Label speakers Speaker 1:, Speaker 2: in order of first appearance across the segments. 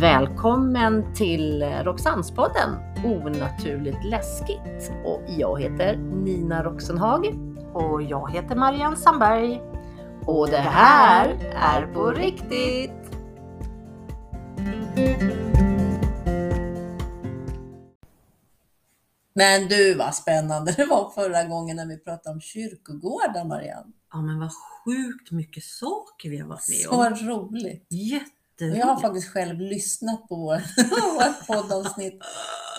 Speaker 1: Välkommen till Roxannespodden Onaturligt läskigt. Och jag heter Nina Roxenhag.
Speaker 2: Och jag heter Marianne Sandberg.
Speaker 1: Och det här är på riktigt! Men du, vad spännande det var förra gången när vi pratade om kyrkogårdar, Marianne.
Speaker 2: Ja men vad sjukt mycket saker vi har varit med
Speaker 1: Så
Speaker 2: om.
Speaker 1: roligt! Och jag har
Speaker 2: Jätteroligt.
Speaker 1: faktiskt själv lyssnat på vår, vårt poddavsnitt.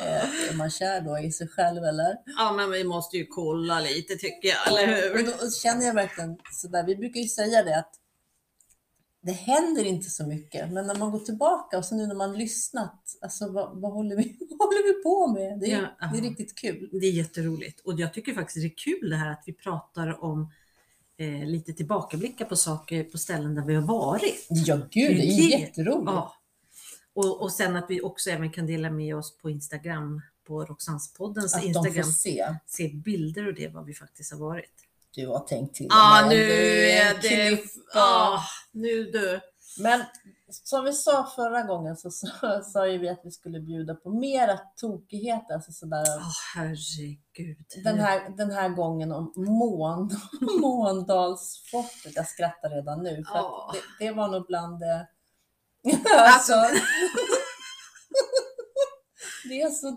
Speaker 1: Eh, är man kär då i sig själv eller?
Speaker 2: Ja men vi måste ju kolla lite tycker jag, eller
Speaker 1: Eh, Och
Speaker 2: hur?
Speaker 1: då känner jag verkligen sådär, vi brukar ju säga det att det händer inte så mycket, men när man går tillbaka och så nu när man lyssnat, alltså vad, vad, håller, vi, vad håller vi på med? Det är,
Speaker 2: Ja.
Speaker 1: det är riktigt kul.
Speaker 2: Det är jätteroligt och jag tycker faktiskt det är kul det här att vi pratar om eh, lite tillbakablickar på saker på ställen där vi har varit.
Speaker 1: Ja, gud, det är
Speaker 2: Kul.
Speaker 1: jätteroligt.
Speaker 2: Ja. Och, och sen att vi också även kan dela med oss på Instagram, på Roxannespoddens
Speaker 1: Att de får
Speaker 2: alltså Instagram,
Speaker 1: se.
Speaker 2: se bilder och det vad vi faktiskt har varit.
Speaker 1: Du har tänkt till.
Speaker 2: Ja,
Speaker 1: Marianne.
Speaker 2: nu
Speaker 1: Du är en
Speaker 2: är det...
Speaker 1: klippa.
Speaker 2: Ja, nu du.
Speaker 1: Men som vi sa förra gången så sa- sa ju vi att vi skulle bjuda på mera tokighet. Alltså sådär,
Speaker 2: Ja, herregud.
Speaker 1: den, här, den här gången om mån, Måndalsfortet. Jag skrattar redan nu. För
Speaker 2: Ja.
Speaker 1: att det, det var nog bland det...
Speaker 2: Alltså.
Speaker 1: alltså, det är så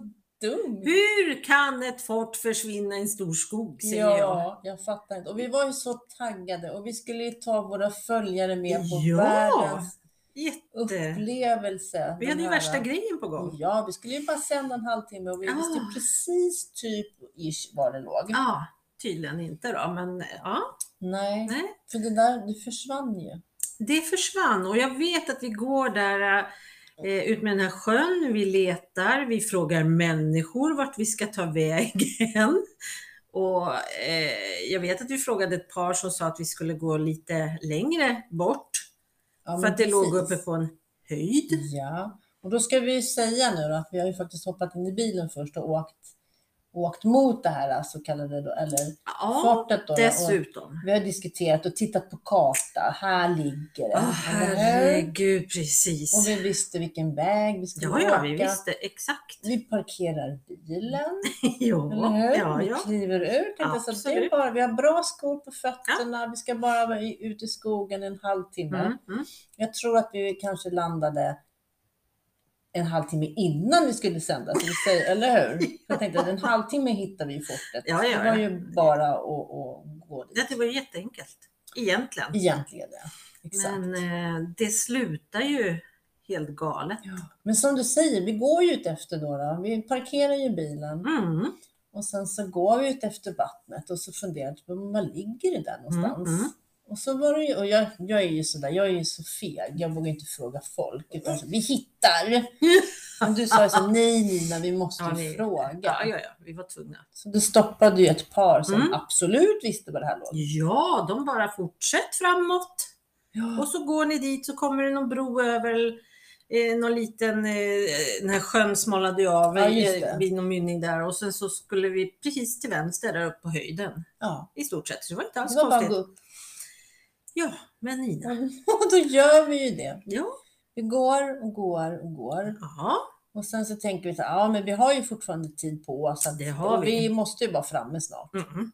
Speaker 1: dumt.
Speaker 2: Hur kan ett fort försvinna i en stor skog, säger jag.
Speaker 1: Ja, jag fattar inte. Och vi var ju så taggade och vi skulle ju ta våra följare med på
Speaker 2: Ja.
Speaker 1: världens
Speaker 2: Jätte...
Speaker 1: upplevelse.
Speaker 2: Vi hade ju
Speaker 1: Den här- Mm.
Speaker 2: värsta Ah. grejen på gång.
Speaker 1: Ja, vi skulle ju bara sända en halvtimme och vi
Speaker 2: Ja.
Speaker 1: visste ju precis typ ish var det låg.
Speaker 2: Ja, tydligen inte då, men ja,
Speaker 1: Nej.
Speaker 2: nej.
Speaker 1: för det där det försvann ju.
Speaker 2: Det försvann och jag vet att vi går där eh, ut med den här sjön, vi letar, vi frågar människor vart vi ska ta vägen. Och eh, jag vet att vi frågade ett par som sa att vi skulle gå lite längre bort
Speaker 1: Ja, men
Speaker 2: för att det låg
Speaker 1: precis. Mm.
Speaker 2: uppe på en höjd.
Speaker 1: Ja, och då ska vi ju säga nu då att vi har ju faktiskt hoppat in i bilen först och åkt, åkt mot det här så kallade, då, eller
Speaker 2: Ja,
Speaker 1: fortet då. Eh, Och
Speaker 2: dessutom.
Speaker 1: vi har diskuterat och tittat på karta. Här ligger det.
Speaker 2: Åh,
Speaker 1: Eller hur?
Speaker 2: herregud, precis.
Speaker 1: och vi visste vilken väg vi skulle
Speaker 2: Ja,
Speaker 1: åka.
Speaker 2: ja, vi visste exakt.
Speaker 1: Vi parkerar bilen.
Speaker 2: Ja,
Speaker 1: Eller hur? Liksom.
Speaker 2: ja, ja.
Speaker 1: Vi kliver ur. Kan jag säga, det är
Speaker 2: Absolut.
Speaker 1: bara, vi har bra skor på fötterna, vi ska bara vara i- ut i skogen en halvtimme.
Speaker 2: Mm, mm.
Speaker 1: Jag tror att vi kanske landade en halvtimme innan vi skulle sända, så vi säger, eller hur? Jag tänkte att en halvtimme hittar vi i fortet.
Speaker 2: Ja, ja,
Speaker 1: Det var
Speaker 2: ja.
Speaker 1: ju bara att, att gå dit.
Speaker 2: Det var ju jätteenkelt egentligen.
Speaker 1: Egentligen, ja. Exakt.
Speaker 2: Men
Speaker 1: Men,
Speaker 2: eh, det slutar ju helt galet.
Speaker 1: som du säger, vi går ju ut efter då, då. Vi parkerar ju bilen
Speaker 2: Mm,
Speaker 1: Och sen så går vi ut efter vattnet och så funderar jag på var ligger det där någonstans?
Speaker 2: Mm, mm.
Speaker 1: Och så var det ju, och jag, jag är ju sådär, jag är ju så feg, jag vågar inte fråga folk utan så, vi hittar! Men du sa ju så, nej Nina, vi måste
Speaker 2: Ja,
Speaker 1: ju
Speaker 2: ni-
Speaker 1: fråga.
Speaker 2: ja, ja, ja, vi var tvungna.
Speaker 1: Så det stoppade ju ett par som
Speaker 2: Mm.
Speaker 1: absolut visste var det här låg.
Speaker 2: Ja, de bara fortsätt framåt.
Speaker 1: Ja.
Speaker 2: Och så går ni dit så kommer det någon bro över eh, någon liten, eh, den här sjön smalnade ju av
Speaker 1: Ja, just det.
Speaker 2: eh, vid någon mynning där och sen så skulle vi precis till vänster där uppe på höjden.
Speaker 1: ja.
Speaker 2: I stort sett, så det var inte alls
Speaker 1: Det var bara Mm. att
Speaker 2: konstigt.
Speaker 1: gå upp.
Speaker 2: Ja, men Nina.
Speaker 1: Och då gör vi ju det.
Speaker 2: Ja,
Speaker 1: Vi går och går och går.
Speaker 2: ja,
Speaker 1: Och sen så tänker vi så här, ja men vi har ju fortfarande tid på oss. att-
Speaker 2: Det har
Speaker 1: och
Speaker 2: vi.
Speaker 1: vi måste ju vara framme snart.
Speaker 2: mm.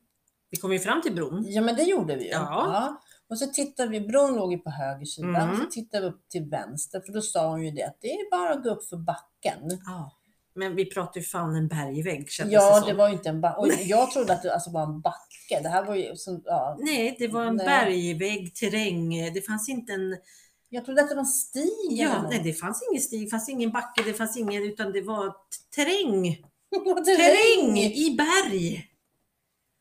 Speaker 2: Vi kom ju fram till bron.
Speaker 1: Ja, men det gjorde vi ju.
Speaker 2: Ja.
Speaker 1: Och så tittade vi, bron låg ju på höger sida,
Speaker 2: Mm.
Speaker 1: så tittade vi upp till vänster för då sa hon ju det att det är bara att gå upp för backen.
Speaker 2: Ja. Men vi pratade ju fan en bergvägg kändes
Speaker 1: ja,
Speaker 2: som.
Speaker 1: det var ju inte en backe. Och jag trodde att det alltså var en backe. Det här var ju så, ja.
Speaker 2: Nej, det var en
Speaker 1: Nej.
Speaker 2: bergvägg, terräng. Det fanns inte en...
Speaker 1: Jag trodde att det var en stig. eller
Speaker 2: Ja,
Speaker 1: något.
Speaker 2: nej, det fanns ingen stig, det fanns ingen backe, det fanns ingen, utan det var t- terräng.
Speaker 1: Vad det
Speaker 2: Terräng
Speaker 1: regn.
Speaker 2: i berg!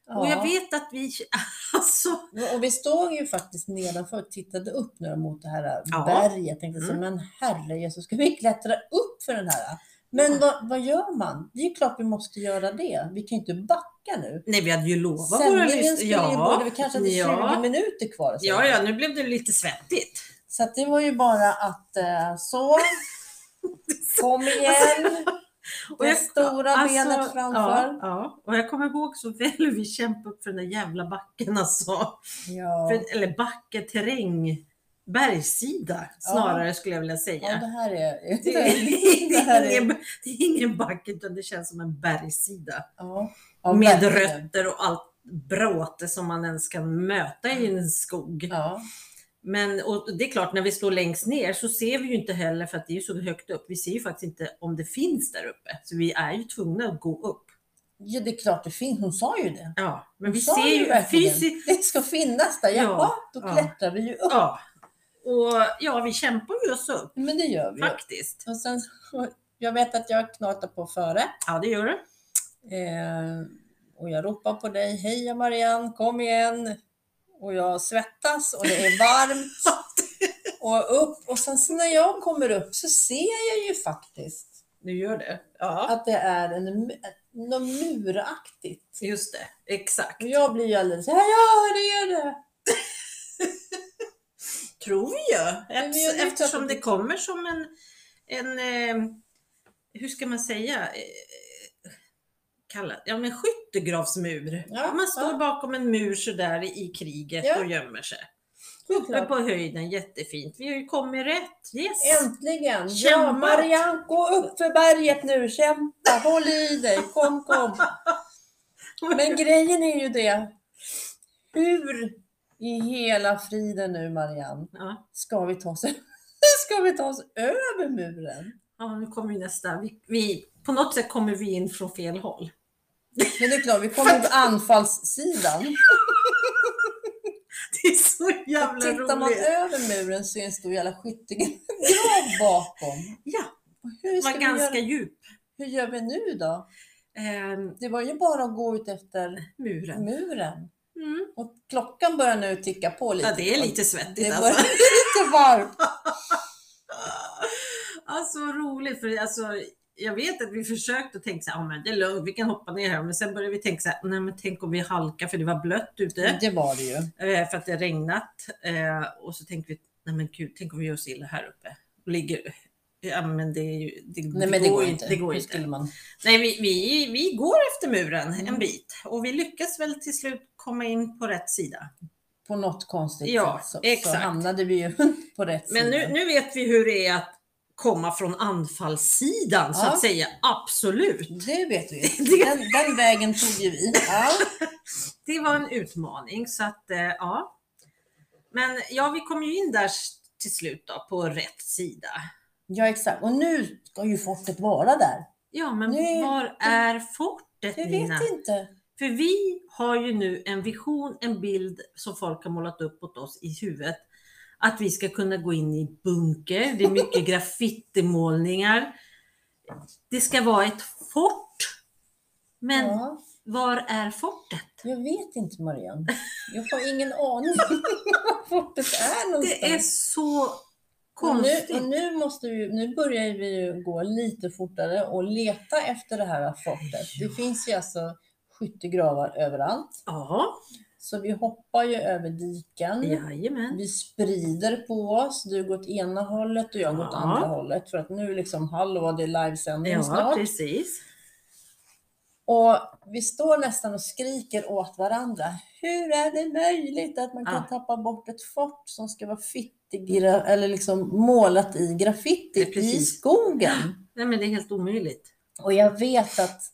Speaker 1: Ja.
Speaker 2: Och jag vet att vi... Alltså,
Speaker 1: Och vi stod ju faktiskt nedanför och tittade upp nu mot det här äh,
Speaker 2: Ja.
Speaker 1: berget. Jag tänkte så,
Speaker 2: Mm.
Speaker 1: men herre Jesus, ska vi klättra upp för den här? Men
Speaker 2: Ja.
Speaker 1: vad, vad gör man? Det är ju klart vi måste göra det. Vi kan ju inte backa nu.
Speaker 2: nej, vi hade ju lovat våra...
Speaker 1: Sändningen
Speaker 2: lys-
Speaker 1: skulle ju gå, det var kanske hade 20
Speaker 2: ja,
Speaker 1: minuter kvar. Så,
Speaker 2: ja, ja, nu blev det lite svettigt.
Speaker 1: så att det var ju bara att eh, så, kom igen,
Speaker 2: Och
Speaker 1: det stora
Speaker 2: alltså,
Speaker 1: benet
Speaker 2: Ja,
Speaker 1: framför.
Speaker 2: ja, och jag kommer ihåg så väl hur vi kämpade upp för den där jävla backen alltså.
Speaker 1: Ja.
Speaker 2: För, eller backe, terräng. bergssida snarare skulle jag vilja säga.
Speaker 1: Ja, det här är...
Speaker 2: Det är, det, är ingen, det är ingen back utan det känns som en bergssida.
Speaker 1: ja, ja,
Speaker 2: med
Speaker 1: verkligen.
Speaker 2: rötter och allt bråte som man ens kan möta i en skog.
Speaker 1: Ja,
Speaker 2: Men och det är klart, när vi står längst ner så ser vi ju inte heller för att det är ju så högt upp. Vi ser ju faktiskt inte om det finns där uppe. Så vi är ju tvungna att gå upp.
Speaker 1: ja, det är klart det finns. Hon sa ju det.
Speaker 2: Ja, men
Speaker 1: Hon
Speaker 2: vi
Speaker 1: sa
Speaker 2: ser
Speaker 1: ju
Speaker 2: ju
Speaker 1: verkligen.
Speaker 2: fysiskt.
Speaker 1: Det ska finnas där. Jaha,
Speaker 2: Ja,
Speaker 1: då
Speaker 2: ja.
Speaker 1: klättrar vi ju upp.
Speaker 2: Ja. Och ja, vi kämpar ju oss upp
Speaker 1: Men det gör vi. ju.
Speaker 2: faktiskt.
Speaker 1: Och sen, jag vet att jag knatar på före.
Speaker 2: Ja, det gör det.
Speaker 1: Eh, och jag ropar på dig, hej Marianne, kom igen. Och jag svettas och det är varmt. och upp. Och sen så när jag kommer upp så ser jag ju faktiskt
Speaker 2: Du gör det. Ja,
Speaker 1: att det Alltså- är en, mu- något muraktigt.
Speaker 2: just det. Exakt.
Speaker 1: Och jag blir ju alldeles, ja, ja det är det.
Speaker 2: tror vi ju.
Speaker 1: men jag
Speaker 2: Eft-
Speaker 1: vet
Speaker 2: Eftersom
Speaker 1: att-
Speaker 2: det kommer som en, en eh, hur ska man säga, eh, kallat, ja men skyttegravsmur.
Speaker 1: Ja,
Speaker 2: man står
Speaker 1: ja.
Speaker 2: bakom en mur sådär i kriget
Speaker 1: Ja.
Speaker 2: och gömmer sig.
Speaker 1: Det är
Speaker 2: Uppe
Speaker 1: klart.
Speaker 2: på höjden, jättefint. Vi har ju kommit rätt. Yes!
Speaker 1: Äntligen! Ja,
Speaker 2: Kämpa!
Speaker 1: Marianne, gå upp för berget nu, kämpa, håll i dig, kom, kom. Men grejen är ju det. Hur i hela friden nu Marianne,
Speaker 2: Ja.
Speaker 1: ska vi ta oss, ska vi ta oss över muren?
Speaker 2: ja, nu kommer ju nästa. Vi, vi, på något sätt kommer vi in från fel håll.
Speaker 1: Men det är klart, vi kommer på anfallssidan.
Speaker 2: Det är så
Speaker 1: Och
Speaker 2: jävla
Speaker 1: tittar man
Speaker 2: roligt.
Speaker 1: över muren så är en stor jävla skyttegrav bakom.
Speaker 2: Ja,
Speaker 1: Och hur,
Speaker 2: den
Speaker 1: ska
Speaker 2: var
Speaker 1: vi
Speaker 2: ganska
Speaker 1: göra,
Speaker 2: djup.
Speaker 1: hur gör vi nu då?
Speaker 2: Ehm,
Speaker 1: Det var ju bara att gå ut efter
Speaker 2: muren.
Speaker 1: muren.
Speaker 2: Mm.
Speaker 1: Och klockan börjar nu ticka på lite.
Speaker 2: Ja, det är
Speaker 1: grann.
Speaker 2: lite svettigt
Speaker 1: Det börjar
Speaker 2: alltså.
Speaker 1: bli lite varmt.
Speaker 2: Alltså vad roligt, för alltså, jag vet att vi försökte och tänkte så här, "Ja, men det är lugnt, vi kan hoppa ner här. Men sen började vi tänka så här, nej men tänk om vi halkar för det var blött ute
Speaker 1: Det var det ju.
Speaker 2: eh, för att det regnat. Eh, Och så tänkte vi, nej men gud, tänk om vi gör oss illa här uppe. Och ligger, ja men det, är ju- det,
Speaker 1: Nej men det går ju inte.
Speaker 2: Det går
Speaker 1: Hur
Speaker 2: inte.
Speaker 1: skulle man
Speaker 2: Nej, vi, vi, vi går efter muren
Speaker 1: Mm.
Speaker 2: en bit och vi lyckas väl till slut komma in på rätt sida.
Speaker 1: på något konstigt
Speaker 2: Ja,
Speaker 1: sätt så, så
Speaker 2: exakt.
Speaker 1: hamnade vi ju på rätt
Speaker 2: Men
Speaker 1: sida.
Speaker 2: nu, nu vet vi hur det är att komma från anfallssidan så
Speaker 1: Ja.
Speaker 2: att säga. Absolut.
Speaker 1: Det vet vi ju. Den, den vägen tog ju vi. Ja.
Speaker 2: Det var en utmaning så att eh, ja. Men ja, vi kom ju in där s- till slut då på rätt sida.
Speaker 1: ja, exakt. Och nu ska ju fortet vara där.
Speaker 2: Ja, men
Speaker 1: Nej,
Speaker 2: var är fortet
Speaker 1: Jag
Speaker 2: Nina?
Speaker 1: vet inte.
Speaker 2: För vi har ju nu en vision, en bild som folk har målat upp åt oss i huvudet. Att vi ska kunna gå in i bunker, det är mycket graffitimålningar. Det ska vara ett fort. Men
Speaker 1: Ja,
Speaker 2: var är fortet?
Speaker 1: jag vet inte Marianne. Jag har ingen aning var fortet är någonstans.
Speaker 2: Det är så
Speaker 1: Och nu,
Speaker 2: konstigt.
Speaker 1: och nu, måste vi, nu börjar vi ju gå lite fortare och leta efter det här fortet. Det finns ju alltså skyttegravar överallt.
Speaker 2: Ja,
Speaker 1: Så vi hoppar ju över diken.
Speaker 2: jajamän.
Speaker 1: Vi sprider på oss. Du går åt ena hållet och jag går åt
Speaker 2: Ja.
Speaker 1: andra hållet. För att nu liksom, hallå, det är livesändning
Speaker 2: Ja,
Speaker 1: snart.
Speaker 2: precis.
Speaker 1: Och vi står nästan och skriker åt varandra. Hur är det möjligt att man kan
Speaker 2: Ja.
Speaker 1: tappa bort ett fort som ska vara fittigra, eller liksom målat i
Speaker 2: Det
Speaker 1: graffiti
Speaker 2: är
Speaker 1: i
Speaker 2: precis.
Speaker 1: skogen?
Speaker 2: Nej, men det är helt omöjligt.
Speaker 1: Och jag vet att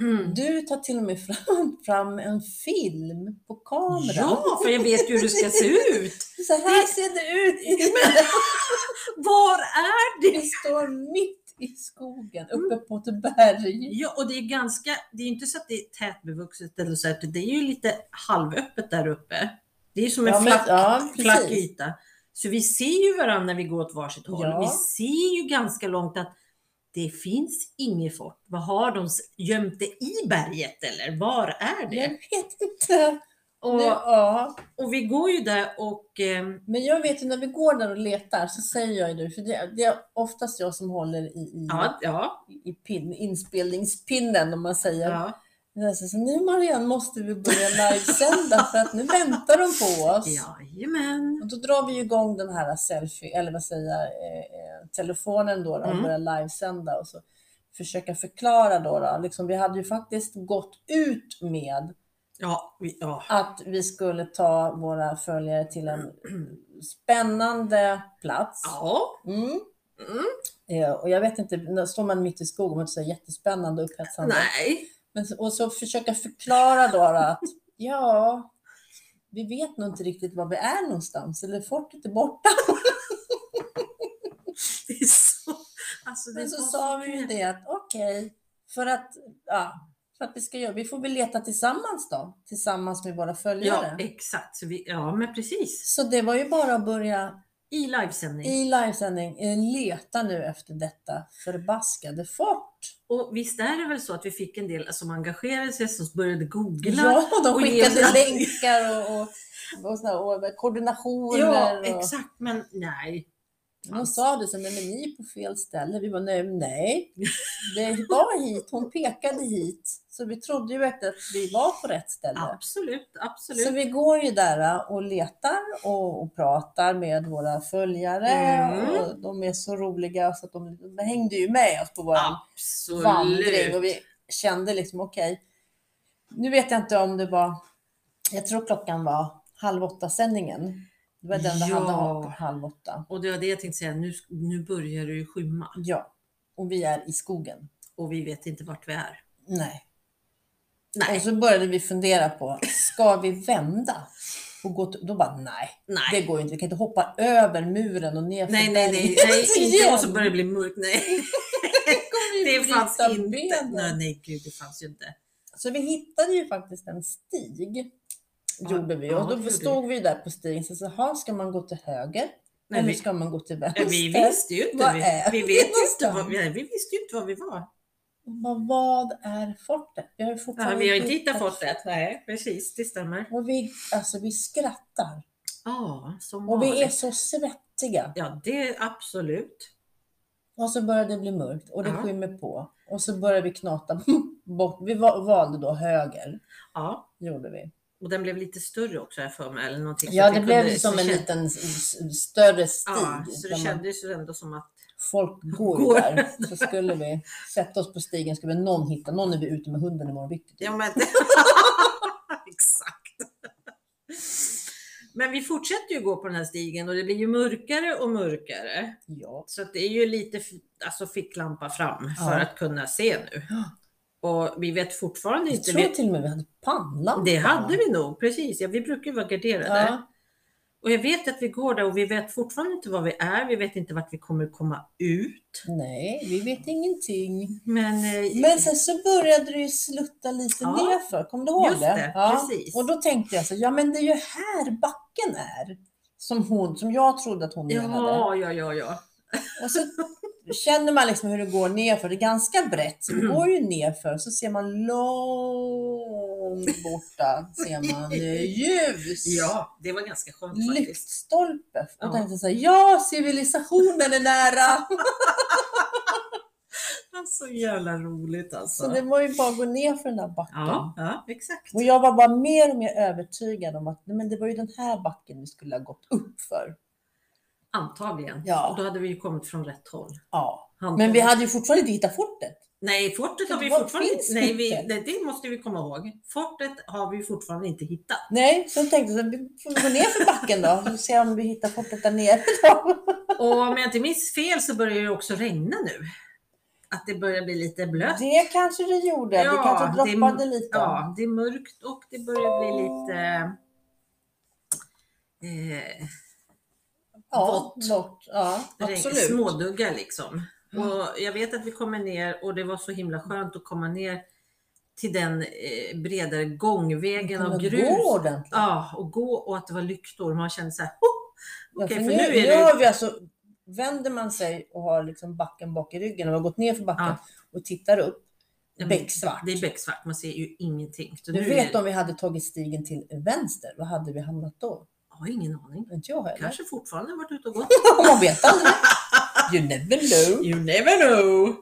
Speaker 2: Mm.
Speaker 1: du tar till och med fram, fram en film på kamera.
Speaker 2: Ja, för jag vet ju hur det ska se ut.
Speaker 1: Så här ser det ut.
Speaker 2: Var är det?
Speaker 1: Vi står mitt i skogen uppe på ett berg.
Speaker 2: Ja, och det är ganska, det är ju inte så att det är tätbevuxet eller så, utan det är ju lite halvöppet där uppe. Det är ju som en
Speaker 1: Ja, men-
Speaker 2: flack,
Speaker 1: ja, precis.
Speaker 2: flack yta. Så vi ser ju varandra när vi går åt varsitt håll.
Speaker 1: Ja.
Speaker 2: Vi ser ju ganska långt att det finns inget fort. Vad har de s- gömt det i berget eller? Var är
Speaker 1: Jag
Speaker 2: det?
Speaker 1: vet inte. Nu,
Speaker 2: Och,
Speaker 1: ja.
Speaker 2: och vi går ju där och ehm,
Speaker 1: Men jag vet ju när vi går där och letar så säger jag ju det, för det, det är oftast jag som håller i, i,
Speaker 2: ja, ja,
Speaker 1: i pin, inspelningspinnen om man säger.
Speaker 2: ja,
Speaker 1: Jag säger så, nu Marianne måste vi börja livesända för att nu väntar de på oss.
Speaker 2: jajamän.
Speaker 1: Och då drar vi ju igång den här selfie, eller vad säger jag, eh, eh, telefonen då, då och
Speaker 2: Mm.
Speaker 1: börjar livesända och så försöka förklara då. då. Liksom, vi hade ju faktiskt gått ut med
Speaker 2: Ja, vi- ja,
Speaker 1: att vi skulle ta våra följare till en spännande plats.
Speaker 2: Ja.
Speaker 1: Mm.
Speaker 2: Mm.
Speaker 1: Eh, Och jag vet inte, när- står man mitt i skogen och så är jättespännande och upphetsande.
Speaker 2: Nej.
Speaker 1: Men, så- och så försöka förklara då att ja, vi vet nog inte riktigt var vi är någonstans eller fortet är borta.
Speaker 2: Det är så... Alltså, det
Speaker 1: Men så
Speaker 2: var
Speaker 1: sa vi ju
Speaker 2: mycket.
Speaker 1: det att okej, för att ja, för att vi ska göra, vi får väl leta tillsammans då, tillsammans med våra
Speaker 2: Ja,
Speaker 1: följare.
Speaker 2: exakt. Så vi, ja, men precis.
Speaker 1: Så det var ju bara att börja
Speaker 2: I livesändning.
Speaker 1: i livesändning eh, leta nu efter detta förbaskade fort.
Speaker 2: Och visst är det väl så att vi fick en del som engagerade sig, som började googla.
Speaker 1: Ja, de
Speaker 2: och ge
Speaker 1: skickade
Speaker 2: oss-
Speaker 1: länkar och, och, och, såna, och koordinationer.
Speaker 2: Ja,
Speaker 1: och,
Speaker 2: exakt. Men nej.
Speaker 1: Hon sa det så, men ni är på fel ställe. Vi var nej, nej. Det var hit, hon pekade hit. Så vi trodde ju verkligen att vi var på rätt ställe.
Speaker 2: Absolut, absolut.
Speaker 1: Så vi går ju där eh, och letar och, och pratar med våra följare.
Speaker 2: Mm.
Speaker 1: Och de är så roliga så att de, de hängde ju med oss på vår vandring.
Speaker 2: absolut.
Speaker 1: Och vi kände liksom okej, nu vet jag inte om det var, jag tror klockan var halv åtta sändningen. Det var den det
Speaker 2: Ja.
Speaker 1: handlade om, halv åtta.
Speaker 2: Och det var det jag tänkte säga, nu, nu börjar det ju skymma
Speaker 1: Ja, och vi är i skogen.
Speaker 2: och vi vet inte vart vi är.
Speaker 1: Nej.
Speaker 2: Nej.
Speaker 1: Och så började vi fundera på, ska vi vända? Och gå till, då bara nej,
Speaker 2: Nej,
Speaker 1: det går ju inte. Vi kan inte hoppa över muren och ner för
Speaker 2: nej, nej, nej, nej inte och så börjar det bli mörkt. Nej, det fanns inte. Nej, nej, gud, det fanns ju inte.
Speaker 1: Så vi hittade ju faktiskt en stig.
Speaker 2: Ja,
Speaker 1: Gjorde vi
Speaker 2: ja,
Speaker 1: och
Speaker 2: det
Speaker 1: då
Speaker 2: gjorde
Speaker 1: stod vi där på stigen och sa, "Jaha, ska man gå till höger?
Speaker 2: Nej,
Speaker 1: eller
Speaker 2: vi-
Speaker 1: ska man gå till
Speaker 2: Ja,
Speaker 1: vänster?
Speaker 2: vi visste ju inte.
Speaker 1: Vad
Speaker 2: Vi,
Speaker 1: är
Speaker 2: vi,
Speaker 1: vi
Speaker 2: vet ju inte
Speaker 1: någonstans?
Speaker 2: vad, nej, vi visste ju inte var vi var.
Speaker 1: Och Vad, vad är fortet? Vi har ju fortfarande
Speaker 2: Ja, vi har inte hittat fortet. Nej, precis, det stämmer.
Speaker 1: Och vi, alltså, vi skrattar.
Speaker 2: Ja, som
Speaker 1: Och vi är
Speaker 2: vanligt.
Speaker 1: så svettiga.
Speaker 2: Ja, det är absolut.
Speaker 1: Och så började det bli mörkt och det
Speaker 2: Ja.
Speaker 1: skymmer på. Och så började vi knata bort. Vi va- valde då höger.
Speaker 2: Ja,
Speaker 1: Gjorde vi.
Speaker 2: och den blev lite större också här för mig. Eller någonting, så
Speaker 1: Ja,
Speaker 2: att
Speaker 1: det
Speaker 2: vi
Speaker 1: blev
Speaker 2: kunde-
Speaker 1: som
Speaker 2: så
Speaker 1: en
Speaker 2: kän-
Speaker 1: liten s- s- större stig.
Speaker 2: Ja, så det
Speaker 1: där man-
Speaker 2: kändes ju ändå som att
Speaker 1: Folk går, ju
Speaker 2: Går.
Speaker 1: där. Så skulle vi sätta oss på stigen skulle någon hitta. Någon är vi ute med hunden imorgon bitti.
Speaker 2: Ja, men... Exakt. Men vi fortsätter ju gå på den här stigen och det blir ju mörkare och mörkare.
Speaker 1: Ja.
Speaker 2: Så att det är ju lite f- alltså ficklampa fram för
Speaker 1: Ja.
Speaker 2: att kunna se nu.
Speaker 1: Ja.
Speaker 2: Och vi vet fortfarande
Speaker 1: Jag
Speaker 2: inte.
Speaker 1: tror
Speaker 2: Vi,
Speaker 1: till och med vi hade pannlampa.
Speaker 2: det hade vi nog, precis. Ja, vi brukar ju vara garderade.
Speaker 1: Ja.
Speaker 2: Och jag vet att vi går där och vi vet fortfarande inte var vi är. Vi vet inte vart vi kommer komma ut.
Speaker 1: Nej, vi vet ingenting.
Speaker 2: Men, eh,
Speaker 1: Men sen så började det ju slutta lite
Speaker 2: Ja.
Speaker 1: nerför. Kommer du ihåg
Speaker 2: Just det,
Speaker 1: Ja.
Speaker 2: precis.
Speaker 1: Och då tänkte jag så, ja men det är ju här backen är. Som, hon, som jag trodde att hon menade.
Speaker 2: ja, ja, ja, ja.
Speaker 1: Och så känner man liksom hur det går nerför. Det är ganska brett, så det går
Speaker 2: Mm.
Speaker 1: ju nerför. Så ser man långt borta, ser man eh, ljus.
Speaker 2: Ja, det var ganska skönt faktiskt.
Speaker 1: Lyktstolpe. Och
Speaker 2: Ja.
Speaker 1: tänkte så här, ja civilisationen är nära.
Speaker 2: Så jävla roligt alltså.
Speaker 1: Så det var ju bara att gå ner för den där backen.
Speaker 2: Ja, ja, exakt.
Speaker 1: Och jag var bara mer och mer övertygad om att nej, men det var ju den här backen vi skulle ha gått upp för.
Speaker 2: Antagligen.
Speaker 1: Ja.
Speaker 2: Och då hade vi ju kommit från rätt håll.
Speaker 1: Ja.
Speaker 2: Antagligen.
Speaker 1: Men vi hade ju fortfarande inte hittat fortet.
Speaker 2: Nej, fortet har vi
Speaker 1: Vad
Speaker 2: fortfarande
Speaker 1: finns
Speaker 2: inte... Nej, vi,
Speaker 1: inte?
Speaker 2: det, det måste vi komma ihåg. Fortet har vi fortfarande inte hittat.
Speaker 1: Nej, så jag tänkte jag vi får gå ner för backen då och se om vi hittar fortet där nere. Då.
Speaker 2: Och om jag inte minns fel så börjar det också regna nu. Att det börjar bli lite blött.
Speaker 1: Det kanske det gjorde. det
Speaker 2: Ja,
Speaker 1: kanske
Speaker 2: det-
Speaker 1: droppade lite.
Speaker 2: Ja, det är mörkt och det börjar bli lite... Eh,
Speaker 1: ja,
Speaker 2: vått.
Speaker 1: vått. Ja,
Speaker 2: regn-
Speaker 1: absolut.
Speaker 2: småduggar liksom.
Speaker 1: Mm.
Speaker 2: Och jag vet att vi kommer ner och det var så himla skönt att komma ner till den eh, bredare gångvägen av
Speaker 1: Men
Speaker 2: grus.
Speaker 1: Gå ordentligt.
Speaker 2: Ja, och gå och att det var lyktor. Man kände så här, oh,
Speaker 1: Ja,
Speaker 2: okej,
Speaker 1: för
Speaker 2: för
Speaker 1: nu,
Speaker 2: nu är
Speaker 1: nu
Speaker 2: det...
Speaker 1: har vi alltså, vänder man sig och har liksom backen bak i ryggen och har gått ner för backen
Speaker 2: Ja.
Speaker 1: och tittar upp.
Speaker 2: Ja, men
Speaker 1: Becksvart.
Speaker 2: Det är becksvart, man ser ju ingenting. Så
Speaker 1: Du
Speaker 2: nu
Speaker 1: vet
Speaker 2: är,
Speaker 1: om vi hade tagit stigen till vänster, vad hade vi hamnat då?
Speaker 2: Jag har ingen aning.
Speaker 1: Inte jag heller.
Speaker 2: Kanske fortfarande varit ute och gått.
Speaker 1: Man vet aldrig. You never know.
Speaker 2: You never know!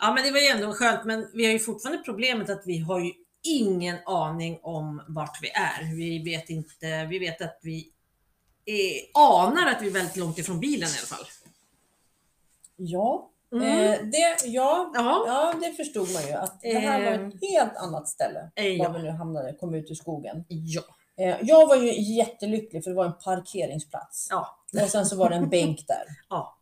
Speaker 2: Ja, men det var ju ändå skönt. Men vi har ju fortfarande problemet att vi har ju ingen aning om vart vi är. Vi vet inte. Vi vet att vi är, anar att vi är väldigt långt ifrån bilen i alla fall.
Speaker 1: Ja,
Speaker 2: Mm.
Speaker 1: eh, det, ja,
Speaker 2: Ja,
Speaker 1: ja, det Eh. förstod man ju att det här var ett helt annat ställe. Var
Speaker 2: eh,
Speaker 1: vi
Speaker 2: ja.
Speaker 1: nu hamnade, kom ut ur skogen.
Speaker 2: ja.
Speaker 1: Eh, Jag var ju jättelycklig för det var en parkeringsplats.
Speaker 2: Ja.
Speaker 1: Och sen så var det en bänk där.
Speaker 2: Ja.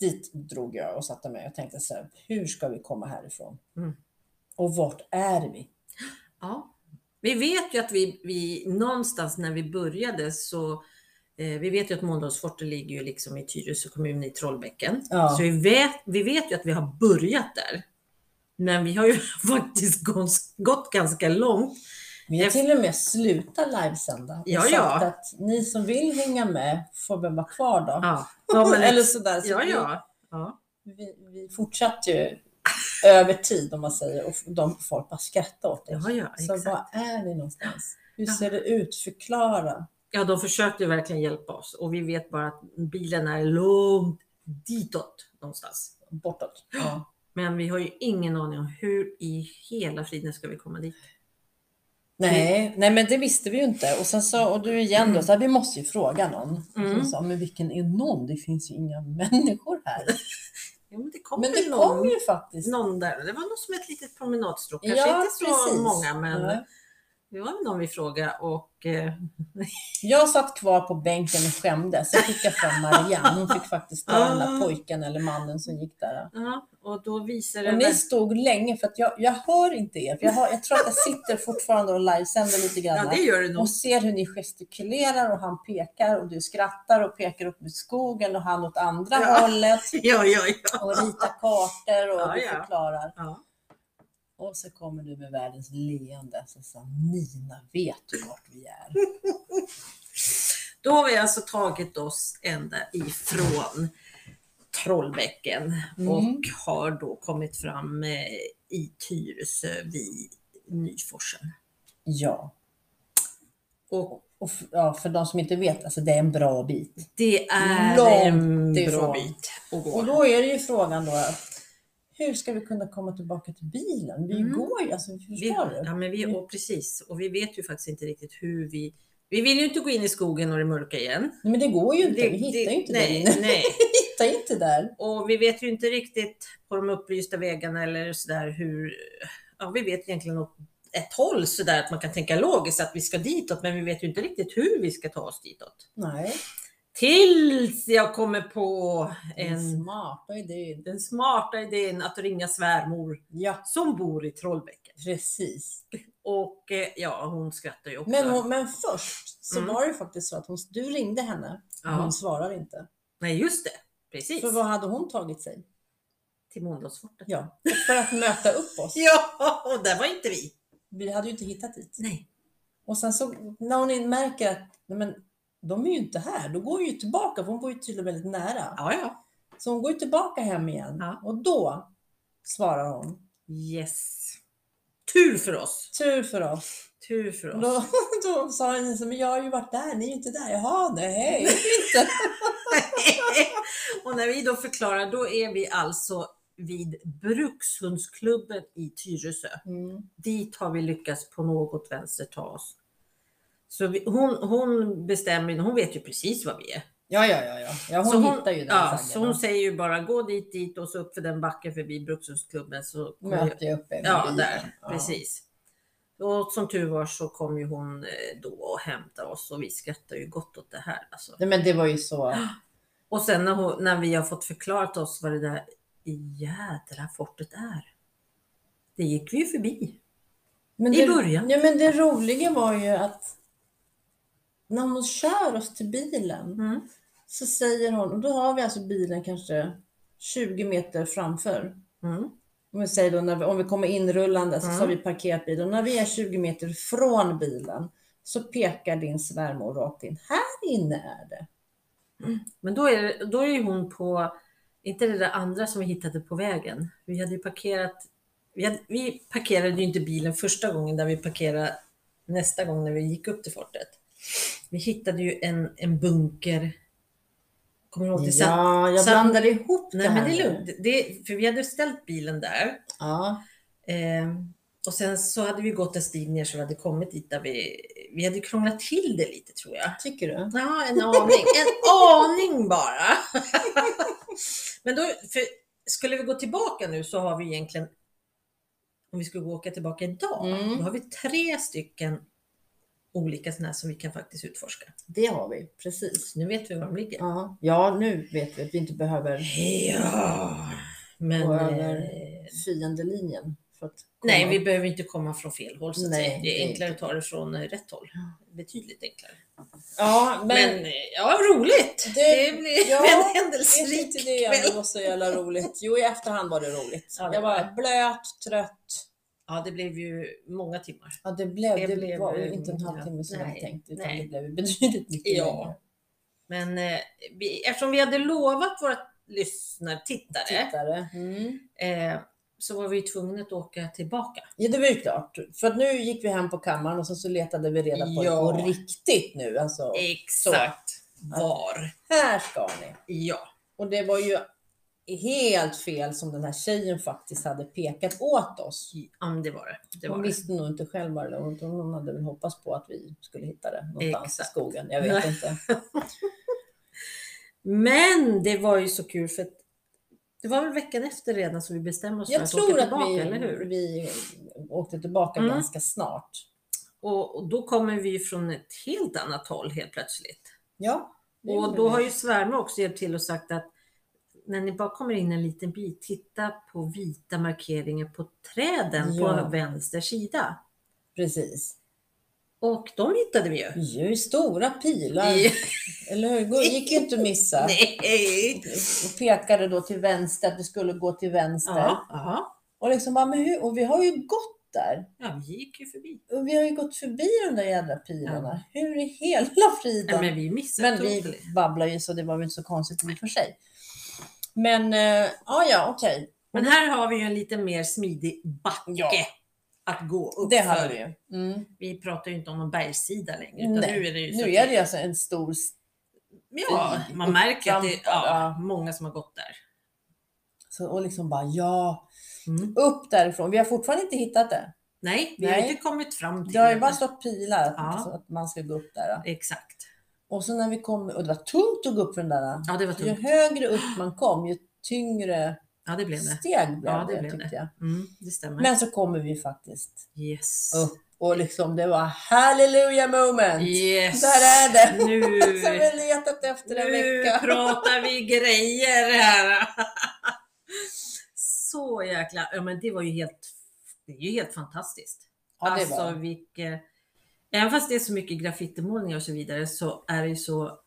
Speaker 1: Dit drog jag och satte mig och tänkte så här, hur ska vi komma härifrån?
Speaker 2: Mm.
Speaker 1: Och vart är vi?
Speaker 2: Ja. Vi vet ju att vi, vi någonstans när vi började så eh, vi vet ju att Mölndalsfortet ligger ju liksom i Tyresö kommun i Trollbäcken.
Speaker 1: Ja.
Speaker 2: Så vi vet, vi vet ju att vi har börjat där. Men vi har ju faktiskt gått, gått ganska långt.
Speaker 1: Vi har
Speaker 2: Efter-
Speaker 1: till och med slutat livesända. Vi
Speaker 2: Ja,
Speaker 1: har sagt
Speaker 2: ja.
Speaker 1: att ni som vill hänga med får väl vara kvar då.
Speaker 2: Ja, ja, men,
Speaker 1: Eller sådär. Så
Speaker 2: ja, ja. ja.
Speaker 1: Vi, vi, vi fortsatte ju över tid om man säger och de folk bara skrattade åt oss.
Speaker 2: Ja, ja,
Speaker 1: så
Speaker 2: exakt.
Speaker 1: var är vi någonstans? Hur
Speaker 2: Ja.
Speaker 1: ser det ut? Förklara.
Speaker 2: ja de försökte ju verkligen hjälpa oss och vi vet bara att bilen är långt ditåt någonstans.
Speaker 1: Bortåt. Ja.
Speaker 2: Men vi har ju ingen aning om hur i hela friden ska vi komma dit.
Speaker 1: Nej, nej, men det visste vi ju inte. Och sen så, och du igen då, så här, vi måste ju fråga någon.
Speaker 2: Mm.
Speaker 1: Och så sa, men vilken är någon? Det finns ju inga människor här.
Speaker 2: Ja, men det kommer
Speaker 1: Men det
Speaker 2: någon.
Speaker 1: kom ju faktiskt.
Speaker 2: någon där. Det var nog som ett litet promenadstråk. Kanske inte så många, men
Speaker 1: Nej.
Speaker 2: det var någon vi frågade och eh,
Speaker 1: Jag satt kvar på bänken och skämdes. Sen fick jag fram Marianne. Hon fick faktiskt ta den där
Speaker 2: Ah.
Speaker 1: pojken eller mannen som gick där.
Speaker 2: ja, och då visade
Speaker 1: Och
Speaker 2: det
Speaker 1: ni
Speaker 2: väl-
Speaker 1: stod länge för att jag, jag hör inte er. För jag, hör, jag tror att jag sitter fortfarande och livesänder lite grann.
Speaker 2: Ja, det gör det nog.
Speaker 1: och ser hur ni gestikulerar och han pekar och du skrattar och pekar upp mot skogen och han åt andra
Speaker 2: Ja.
Speaker 1: hållet
Speaker 2: Ja, ja, ja.
Speaker 1: och ritar kartor och
Speaker 2: Ja,
Speaker 1: du
Speaker 2: ja.
Speaker 1: förklarar.
Speaker 2: ja.
Speaker 1: Och så kommer du med världens leende och säger Nina, vet du vart vi är?
Speaker 2: Då har vi alltså tagit oss ända ifrån Trollbäcken
Speaker 1: Mm.
Speaker 2: och har då kommit fram eh, i Tyresö vid Nyforsen.
Speaker 1: Ja,
Speaker 2: Och
Speaker 1: och f- ja, för de som inte vet, alltså det är en bra bit.
Speaker 2: det är en
Speaker 1: Långt
Speaker 2: bra
Speaker 1: ifrån.
Speaker 2: bit att gå.
Speaker 1: Och då är det ju frågan då, hur ska vi kunna komma tillbaka till bilen? Vi
Speaker 2: Mm.
Speaker 1: går ju, alltså
Speaker 2: Vi,
Speaker 1: förstår du? Mm.
Speaker 2: ja, men vi, och precis, och vi vet ju faktiskt inte riktigt hur vi... Vi vill ju inte gå in i skogen och det mörka igen.
Speaker 1: Nej, men det går ju inte, vi hittar ju inte
Speaker 2: nej,
Speaker 1: där inne.
Speaker 2: nej.
Speaker 1: Vi hittar inte där.
Speaker 2: Och vi vet ju inte riktigt på de upplysta vägarna eller sådär hur... Ja, vi vet egentligen åt ett håll sådär att man kan tänka logiskt att vi ska ditåt, men vi vet ju inte riktigt hur vi ska ta oss ditåt.
Speaker 1: Nej,
Speaker 2: Tills jag kommer på
Speaker 1: en
Speaker 2: en,
Speaker 1: smarta idé.
Speaker 2: den smarta idén att ringa svärmor
Speaker 1: Ja,
Speaker 2: som bor i Trollbäcken.
Speaker 1: precis.
Speaker 2: Och eh, ja, hon skrattar ju också.
Speaker 1: Men, hon, men först så
Speaker 2: Mm.
Speaker 1: var det faktiskt så att hon, du ringde henne och
Speaker 2: Ja.
Speaker 1: hon svarar inte.
Speaker 2: Nej, just det. Precis.
Speaker 1: För vad hade hon tagit sig?
Speaker 2: Till Mölndalsfortet.
Speaker 1: Ja, för att möta upp oss.
Speaker 2: Ja, och där var inte vi.
Speaker 1: Vi hade ju inte hittat dit.
Speaker 2: Nej.
Speaker 1: Och sen så när hon märker att nej men, de är ju inte här, då går hon ju tillbaka, för hon bor ju tydligen väldigt nära.
Speaker 2: Ja, ja.
Speaker 1: Så hon går ju tillbaka hem igen
Speaker 2: Ja.
Speaker 1: och då svarar hon.
Speaker 2: Yes. Tur för oss.
Speaker 1: Tur för oss.
Speaker 2: Tur för oss.
Speaker 1: Då, då sa hon så, men jag har ju varit där, ni är ju inte där. Jaha, nej, inte.
Speaker 2: och när vi då förklarar, då är vi alltså vid Brukshundsklubben i Tyresö.
Speaker 1: Mm.
Speaker 2: Dit har vi lyckats på något vänster ta oss. Så vi, hon, hon bestämmer, hon vet ju precis var vi är.
Speaker 1: Ja, ja, ja, ja. ja hon,
Speaker 2: Så
Speaker 1: hittar ju den
Speaker 2: ja,
Speaker 1: saggen
Speaker 2: Så hon
Speaker 1: och
Speaker 2: säger ju bara gå dit, dit och så upp för den backen förbi Brukshundsklubben så kommer jag-
Speaker 1: möter ju uppe med
Speaker 2: Ja,
Speaker 1: bilen.
Speaker 2: där.
Speaker 1: Ja.
Speaker 2: Precis. Och som tur var så kom ju hon eh, då och hämtade oss och vi skrattade ju gott åt det här. Alltså.
Speaker 1: Nej, men det var ju så.
Speaker 2: Och sen när, hon, när vi har fått förklarat oss vad det där jädra fortet är. Det gick vi ju förbi.
Speaker 1: Men
Speaker 2: I
Speaker 1: det,
Speaker 2: början.
Speaker 1: Ja, men det roliga var ju att när hon kör oss till bilen
Speaker 2: Mm.
Speaker 1: så säger hon, och då har vi alltså bilen kanske 20 meter framför.
Speaker 2: Mm.
Speaker 1: Om vi, säger då, när vi, om vi kommer inrullande så,
Speaker 2: Mm.
Speaker 1: så har vi parkerat bilen. När vi är 20 meter från bilen så pekar din svärmor rakt in. Här inne är det.
Speaker 2: Men då är, det- då är ju hon på, inte det där andra som vi hittade på vägen. Vi hade ju parkerat, vi, hade, vi parkerade ju inte bilen första gången där vi parkerade nästa gång när vi gick upp till fortet. Vi hittade ju en, en bunker. Kommer du ihåg det? Satt-
Speaker 1: Ja, jag
Speaker 2: så-
Speaker 1: blandar ihop det
Speaker 2: Nej,
Speaker 1: här
Speaker 2: men det är
Speaker 1: nu.
Speaker 2: lugnt. Det, för vi hade ställt bilen där.
Speaker 1: Ja,
Speaker 2: Eh, och sen så hade vi gått en stig ner så vi hade kommit dit där vi, vi hade krånglat till det lite tror jag.
Speaker 1: tycker du?
Speaker 2: Ja, en aning. En aning bara. Men då, för skulle vi gå tillbaka nu så har vi egentligen, om vi skulle gå åka tillbaka idag,
Speaker 1: Mm.
Speaker 2: då har vi tre stycken olika sådana här som vi kan faktiskt utforska.
Speaker 1: Det har vi, precis.
Speaker 2: Nu vet vi var de ligger.
Speaker 1: Ja, ja nu vet vi att vi inte behöver
Speaker 2: Ja, men...
Speaker 1: Gå
Speaker 2: eh,
Speaker 1: över. fiendelinjen. För att komma-
Speaker 2: Nej, vi behöver inte komma från fel håll så att
Speaker 1: Nej,
Speaker 2: säga.
Speaker 1: det
Speaker 2: Det
Speaker 1: är
Speaker 2: är enklare att ta det från eh, rätt håll. Betydligt enklare.
Speaker 1: Ja,
Speaker 2: Men,
Speaker 1: men...
Speaker 2: eh, ja, roligt!
Speaker 1: Det-
Speaker 2: Det, blir
Speaker 1: ja,
Speaker 2: en
Speaker 1: Det är
Speaker 2: händelserik
Speaker 1: inte det, men
Speaker 2: kväll.
Speaker 1: det var så jävla roligt. Jo, i efterhand var det roligt.
Speaker 2: Ja, det
Speaker 1: jag
Speaker 2: var
Speaker 1: var blöt, trött.
Speaker 2: Ja, det blev ju många timmar.
Speaker 1: Ja, det blev, det
Speaker 2: Det blev,
Speaker 1: var ju
Speaker 2: eh,
Speaker 1: inte en halvtimme som jag hade
Speaker 2: nej,
Speaker 1: tänkt, utan
Speaker 2: nej.
Speaker 1: det blev betydligt mycket
Speaker 2: Ja.
Speaker 1: längre.
Speaker 2: Mm. Men eh, vi, eftersom vi hade lovat våra lyssnare, tittare,
Speaker 1: Tittare. Mm.
Speaker 2: eh, så var vi tvungna att åka tillbaka.
Speaker 1: Ja, det var ju klart. För att nu gick vi hem på kammaren och sen så letade vi reda på
Speaker 2: Ja.
Speaker 1: det på riktigt nu. Alltså,
Speaker 2: Exakt var.
Speaker 1: här ska ni.
Speaker 2: Ja.
Speaker 1: Och det var ju helt fel som den här tjejen faktiskt hade pekat åt oss.
Speaker 2: ja, men det var det. det, var
Speaker 1: Hon
Speaker 2: det.
Speaker 1: visste nog inte själv vad det var. Hon- Hon hade väl hoppats på att vi skulle hitta det någonstans i
Speaker 2: Exakt.
Speaker 1: skogen. Jag vet inte.
Speaker 2: Men det var ju så kul för att det var väl veckan efter redan som vi bestämde oss för
Speaker 1: Jag
Speaker 2: att
Speaker 1: tror
Speaker 2: åka
Speaker 1: att
Speaker 2: tillbaka,
Speaker 1: vi,
Speaker 2: eller hur?
Speaker 1: vi åkte tillbaka
Speaker 2: Mm.
Speaker 1: ganska snart.
Speaker 2: Och, och då kommer vi ju från ett helt annat håll helt plötsligt.
Speaker 1: Ja. det
Speaker 2: Och
Speaker 1: gjorde
Speaker 2: då
Speaker 1: vi.
Speaker 2: har ju svärmor också hjälpt till och sagt att när ni bara kommer in en liten bit, titta på vita markeringar på träden
Speaker 1: Ja.
Speaker 2: på vänster sida.
Speaker 1: Precis.
Speaker 2: Och de hittade vi ju.
Speaker 1: Ju stora pilar. Eller hur? Gå- gick ju inte att missa.
Speaker 2: Nej!
Speaker 1: Och pekade då till vänster, att vi skulle gå till vänster.
Speaker 2: Ja, ja.
Speaker 1: Och, liksom bara, men hur? och vi har ju gått där.
Speaker 2: ja, vi gick ju förbi.
Speaker 1: Och vi har ju gått förbi de där jävla pilarna. Hur i hela
Speaker 2: Nej,
Speaker 1: friden?
Speaker 2: men vi missade
Speaker 1: men
Speaker 2: totally.
Speaker 1: vi babblar ju så det var väl inte så konstigt i och för sig. Men eh, ja, ja, okej.
Speaker 2: Men här har vi ju en lite mer smidig backe
Speaker 1: Ja.
Speaker 2: att gå upp
Speaker 1: Det
Speaker 2: för.
Speaker 1: hade vi ju. Mm.
Speaker 2: Vi pratar ju inte om någon bergssida längre. Utan
Speaker 1: Nej,
Speaker 2: nu är det ju så
Speaker 1: Nu är det ju alltså en stor... s-
Speaker 2: ja, man märker att det är ja,
Speaker 1: Ja.
Speaker 2: många som har gått där.
Speaker 1: Så, och liksom bara ja,
Speaker 2: Mm.
Speaker 1: upp därifrån. Vi har fortfarande inte hittat det.
Speaker 2: Nej, vi har
Speaker 1: Nej.
Speaker 2: inte kommit fram till
Speaker 1: Det har ju bara stått pilar att,
Speaker 2: Ja.
Speaker 1: så att man ska gå upp där.
Speaker 2: Exakt.
Speaker 1: Och så när vi kom, och det var tungt att gå upp för den där.
Speaker 2: Ja, det var
Speaker 1: Ju
Speaker 2: tungt.
Speaker 1: högre upp man kom, ju tyngre
Speaker 2: Ja, det blev det.
Speaker 1: steg blev
Speaker 2: Ja, det
Speaker 1: det,
Speaker 2: blev
Speaker 1: tyckte jag.
Speaker 2: Mm, det stämmer.
Speaker 1: Men så kommer vi faktiskt
Speaker 2: yes.
Speaker 1: upp och liksom det var halleluja moment.
Speaker 2: Yes.
Speaker 1: Där är det.
Speaker 2: Nu,
Speaker 1: Som vi har letat efter en
Speaker 2: nu
Speaker 1: vecka.
Speaker 2: pratar vi grejer här. Så jäkla... Ja, men det var ju helt, det är ju helt fantastiskt.
Speaker 1: Ja, det
Speaker 2: alltså
Speaker 1: var.
Speaker 2: vilket... Även fast det är så mycket graffitimålningar och så vidare så är det ju så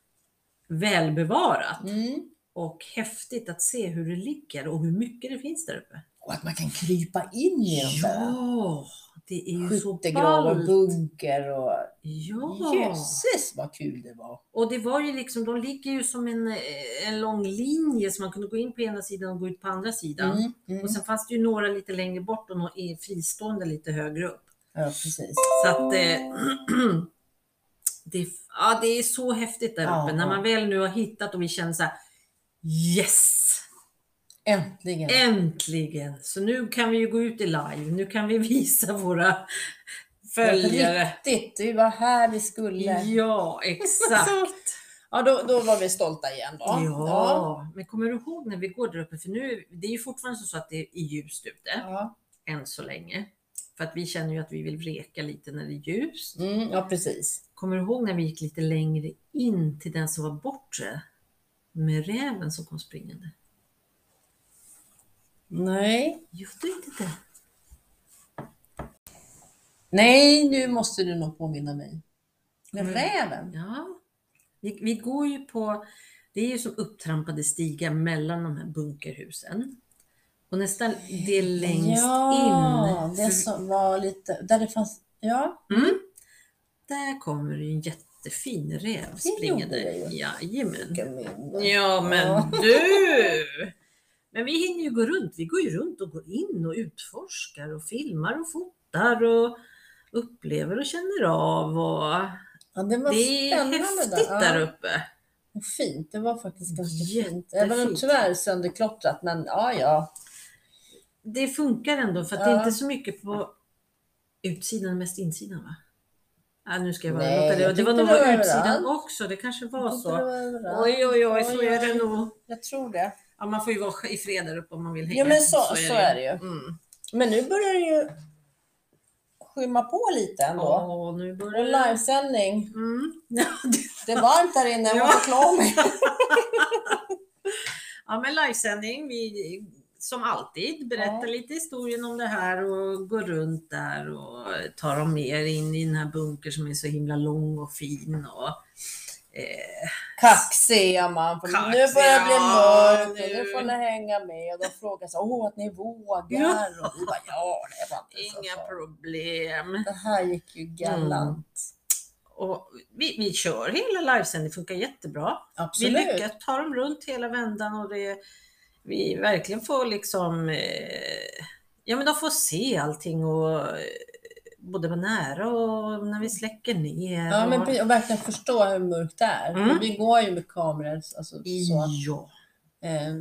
Speaker 2: välbevarat
Speaker 1: Mm.
Speaker 2: och häftigt att se hur det ligger och hur mycket det finns där uppe.
Speaker 1: Och att man kan krypa in i de där.
Speaker 2: Ja, det är ju så
Speaker 1: Skyttegrav och
Speaker 2: ballt.
Speaker 1: bunker och
Speaker 2: Ja,
Speaker 1: jösses vad kul det var.
Speaker 2: och det var ju liksom, de ligger ju som en, eh, en lång linje så man kunde gå in på ena sidan och gå ut på andra sidan.
Speaker 1: Mm, mm.
Speaker 2: Och sen fanns det ju några lite längre bort och några i- fristående lite högre upp.
Speaker 1: Ja, precis.
Speaker 2: Så att eh, det, är- ja, det är så häftigt där
Speaker 1: Ja,
Speaker 2: uppe. När
Speaker 1: ja.
Speaker 2: man väl nu har hittat och vi känner så här Yes!
Speaker 1: Äntligen.
Speaker 2: Äntligen! Så nu kan vi ju gå ut i live. Nu kan vi visa våra följare.
Speaker 1: Riktigt, det var här vi skulle.
Speaker 2: Ja, exakt.
Speaker 1: Ja, då, då var vi stolta igen då.
Speaker 2: Ja, men kommer du ihåg när vi går där uppe? För nu, det är ju fortfarande så att det är ljust ute
Speaker 1: Ja.
Speaker 2: än så länge. För att vi känner ju att vi vill vreka lite när det är ljust.
Speaker 1: Mm, ja, precis.
Speaker 2: Kommer du ihåg när vi gick lite längre in till den som var bortre? Med räven som kom springande.
Speaker 1: Nej.
Speaker 2: Gjorde du inte det?
Speaker 1: Nej, nu måste du nog påminna mig. Med
Speaker 2: Mm.
Speaker 1: räven?
Speaker 2: Ja. Vi, vi går ju på, det är ju som upptrampade stigar mellan de här bunkerhusen. Och nästan det längst
Speaker 1: ja,
Speaker 2: in.
Speaker 1: det som var lite, där det fanns, ja.
Speaker 2: Mm. Där kommer det en jättefin räv springande.
Speaker 1: gjorde det ju.
Speaker 2: Jajamän.
Speaker 1: vilken min-
Speaker 2: Ja
Speaker 1: Ja.
Speaker 2: men du! Men vi hinner ju gå runt. Vi går ju runt och går in och utforskar och filmar och fotar och upplever och känner av. Och
Speaker 1: Ja, det var
Speaker 2: det är
Speaker 1: spännande
Speaker 2: häftigt
Speaker 1: där.
Speaker 2: där
Speaker 1: ja.
Speaker 2: uppe.
Speaker 1: Och fint, det var faktiskt ganska fint.
Speaker 2: Jättefint.
Speaker 1: Även om tyvärr sönderklottrat, men ja, ja.
Speaker 2: Det funkar ändå för att det
Speaker 1: Ja.
Speaker 2: är inte så mycket på utsidan, mest insidan va? Ja, nu ska jag vara
Speaker 1: Nej,
Speaker 2: låta det.
Speaker 1: jag
Speaker 2: Det var nog
Speaker 1: tyckte det var
Speaker 2: utsidan
Speaker 1: överallt.
Speaker 2: också. Det kanske var
Speaker 1: Jag tyckte det
Speaker 2: så.
Speaker 1: var överallt.
Speaker 2: Oj, oj, oj, så
Speaker 1: Oj,
Speaker 2: är det
Speaker 1: oj.
Speaker 2: nog.
Speaker 1: Jag tror det.
Speaker 2: Ja, man får ju vara i fred där uppe om man vill hänga.
Speaker 1: Ja, men så, så är det ju.
Speaker 2: Mm.
Speaker 1: Men nu börjar det ju skymma på lite ändå.
Speaker 2: Åh, nu
Speaker 1: Och
Speaker 2: börjar det.
Speaker 1: livesändning.
Speaker 2: Mm. Ja, det-
Speaker 1: Det är varmt där inne, jag
Speaker 2: Ja.
Speaker 1: måste klä av mig.
Speaker 2: ja, men livesändning. Vi som alltid berättar
Speaker 1: Ja.
Speaker 2: lite historien om det här och går runt där och tar dem med er in i den här bunkern som är så himla lång och fin. Och, eh,
Speaker 1: Kaxig är man. För
Speaker 2: Kaxig,
Speaker 1: nu börjar det bli
Speaker 2: ja,
Speaker 1: mörkt och
Speaker 2: nu.
Speaker 1: nu får ni hänga med. Och de frågar så åh att ni vågar.
Speaker 2: Ja.
Speaker 1: Och vi bara, ja det var inte
Speaker 2: inga
Speaker 1: Alltså,
Speaker 2: Mm.
Speaker 1: så farligt."
Speaker 2: problem.
Speaker 1: Det här gick ju galant.
Speaker 2: Och vi, vi kör hela livesändningen, det funkar jättebra.
Speaker 1: Absolut.
Speaker 2: Vi lyckas ta dem runt hela vändan och det, vi verkligen får liksom, eh, ja men de får se allting och eh, både på nära och när vi släcker ner.
Speaker 1: Ja, men
Speaker 2: och,
Speaker 1: pre- och verkligen förstå hur mörkt det är.
Speaker 2: Mm.
Speaker 1: Vi går ju med kameror alltså, så att
Speaker 2: ja.
Speaker 1: eh,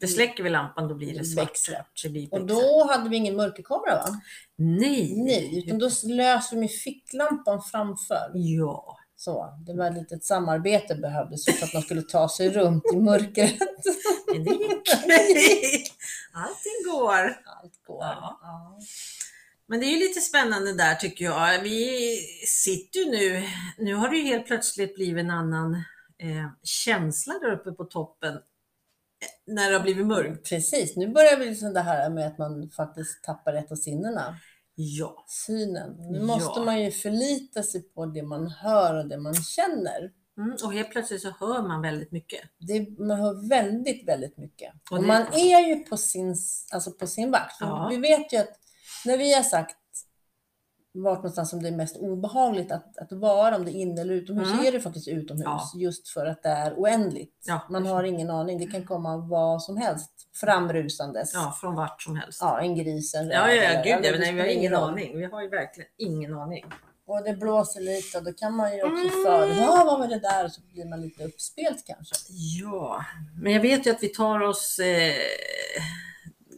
Speaker 2: För släcker vi lampan då blir det svart.
Speaker 1: Becksvart.
Speaker 2: Det blir
Speaker 1: Och
Speaker 2: becksvart.
Speaker 1: då hade vi ingen mörkerkamera va?
Speaker 2: Nej.
Speaker 1: Nej, utan då löser vi med ficklampan framför.
Speaker 2: Ja.
Speaker 1: Så, det var ett litet samarbete behövdes för att man skulle ta sig runt i mörkret.
Speaker 2: Men det gick. Allting går.
Speaker 1: Allt går.
Speaker 2: Ja.
Speaker 1: Ja.
Speaker 2: Men det är ju lite spännande där tycker jag. Vi sitter ju nu, nu har det ju helt plötsligt blivit en annan eh, känsla där uppe på toppen eh, när det har blivit mörkt.
Speaker 1: Precis, nu börjar vi liksom det här med att man faktiskt tappar ett av sinnena.
Speaker 2: Ja,
Speaker 1: Synen. Nu
Speaker 2: Ja.
Speaker 1: måste man ju förlita sig på det man hör och det man känner.
Speaker 2: mm, och helt plötsligt så hör man väldigt mycket.
Speaker 1: det, man hör väldigt, väldigt mycket.
Speaker 2: Och
Speaker 1: Och,
Speaker 2: det-
Speaker 1: man är ju på sin, alltså på sin vakt. För
Speaker 2: Ja.
Speaker 1: Vi vet ju att när vi har sagt vart någonstans som det är mest obehagligt att, att vara, om det är inne eller utomhus,
Speaker 2: Mm.
Speaker 1: så är det faktiskt utomhus.
Speaker 2: Ja.
Speaker 1: Just för att det är oändligt.
Speaker 2: Ja,
Speaker 1: man har ingen aning. Det kan komma vad som helst framrusandes.
Speaker 2: Ja, från vart som helst.
Speaker 1: Ja, en gris, en räv.
Speaker 2: Ja, ja,
Speaker 1: eller-
Speaker 2: ja gud,
Speaker 1: eller det
Speaker 2: ja, men nej, vi har
Speaker 1: spelar
Speaker 2: ingen
Speaker 1: roll.
Speaker 2: aning. Vi har ju verkligen ingen aning.
Speaker 1: Och det blåser lite och då kan man ju också
Speaker 2: Mm.
Speaker 1: för, ja, vad var det där? Och så blir man lite uppspelt kanske.
Speaker 2: Ja, men jag vet ju att vi tar oss eh,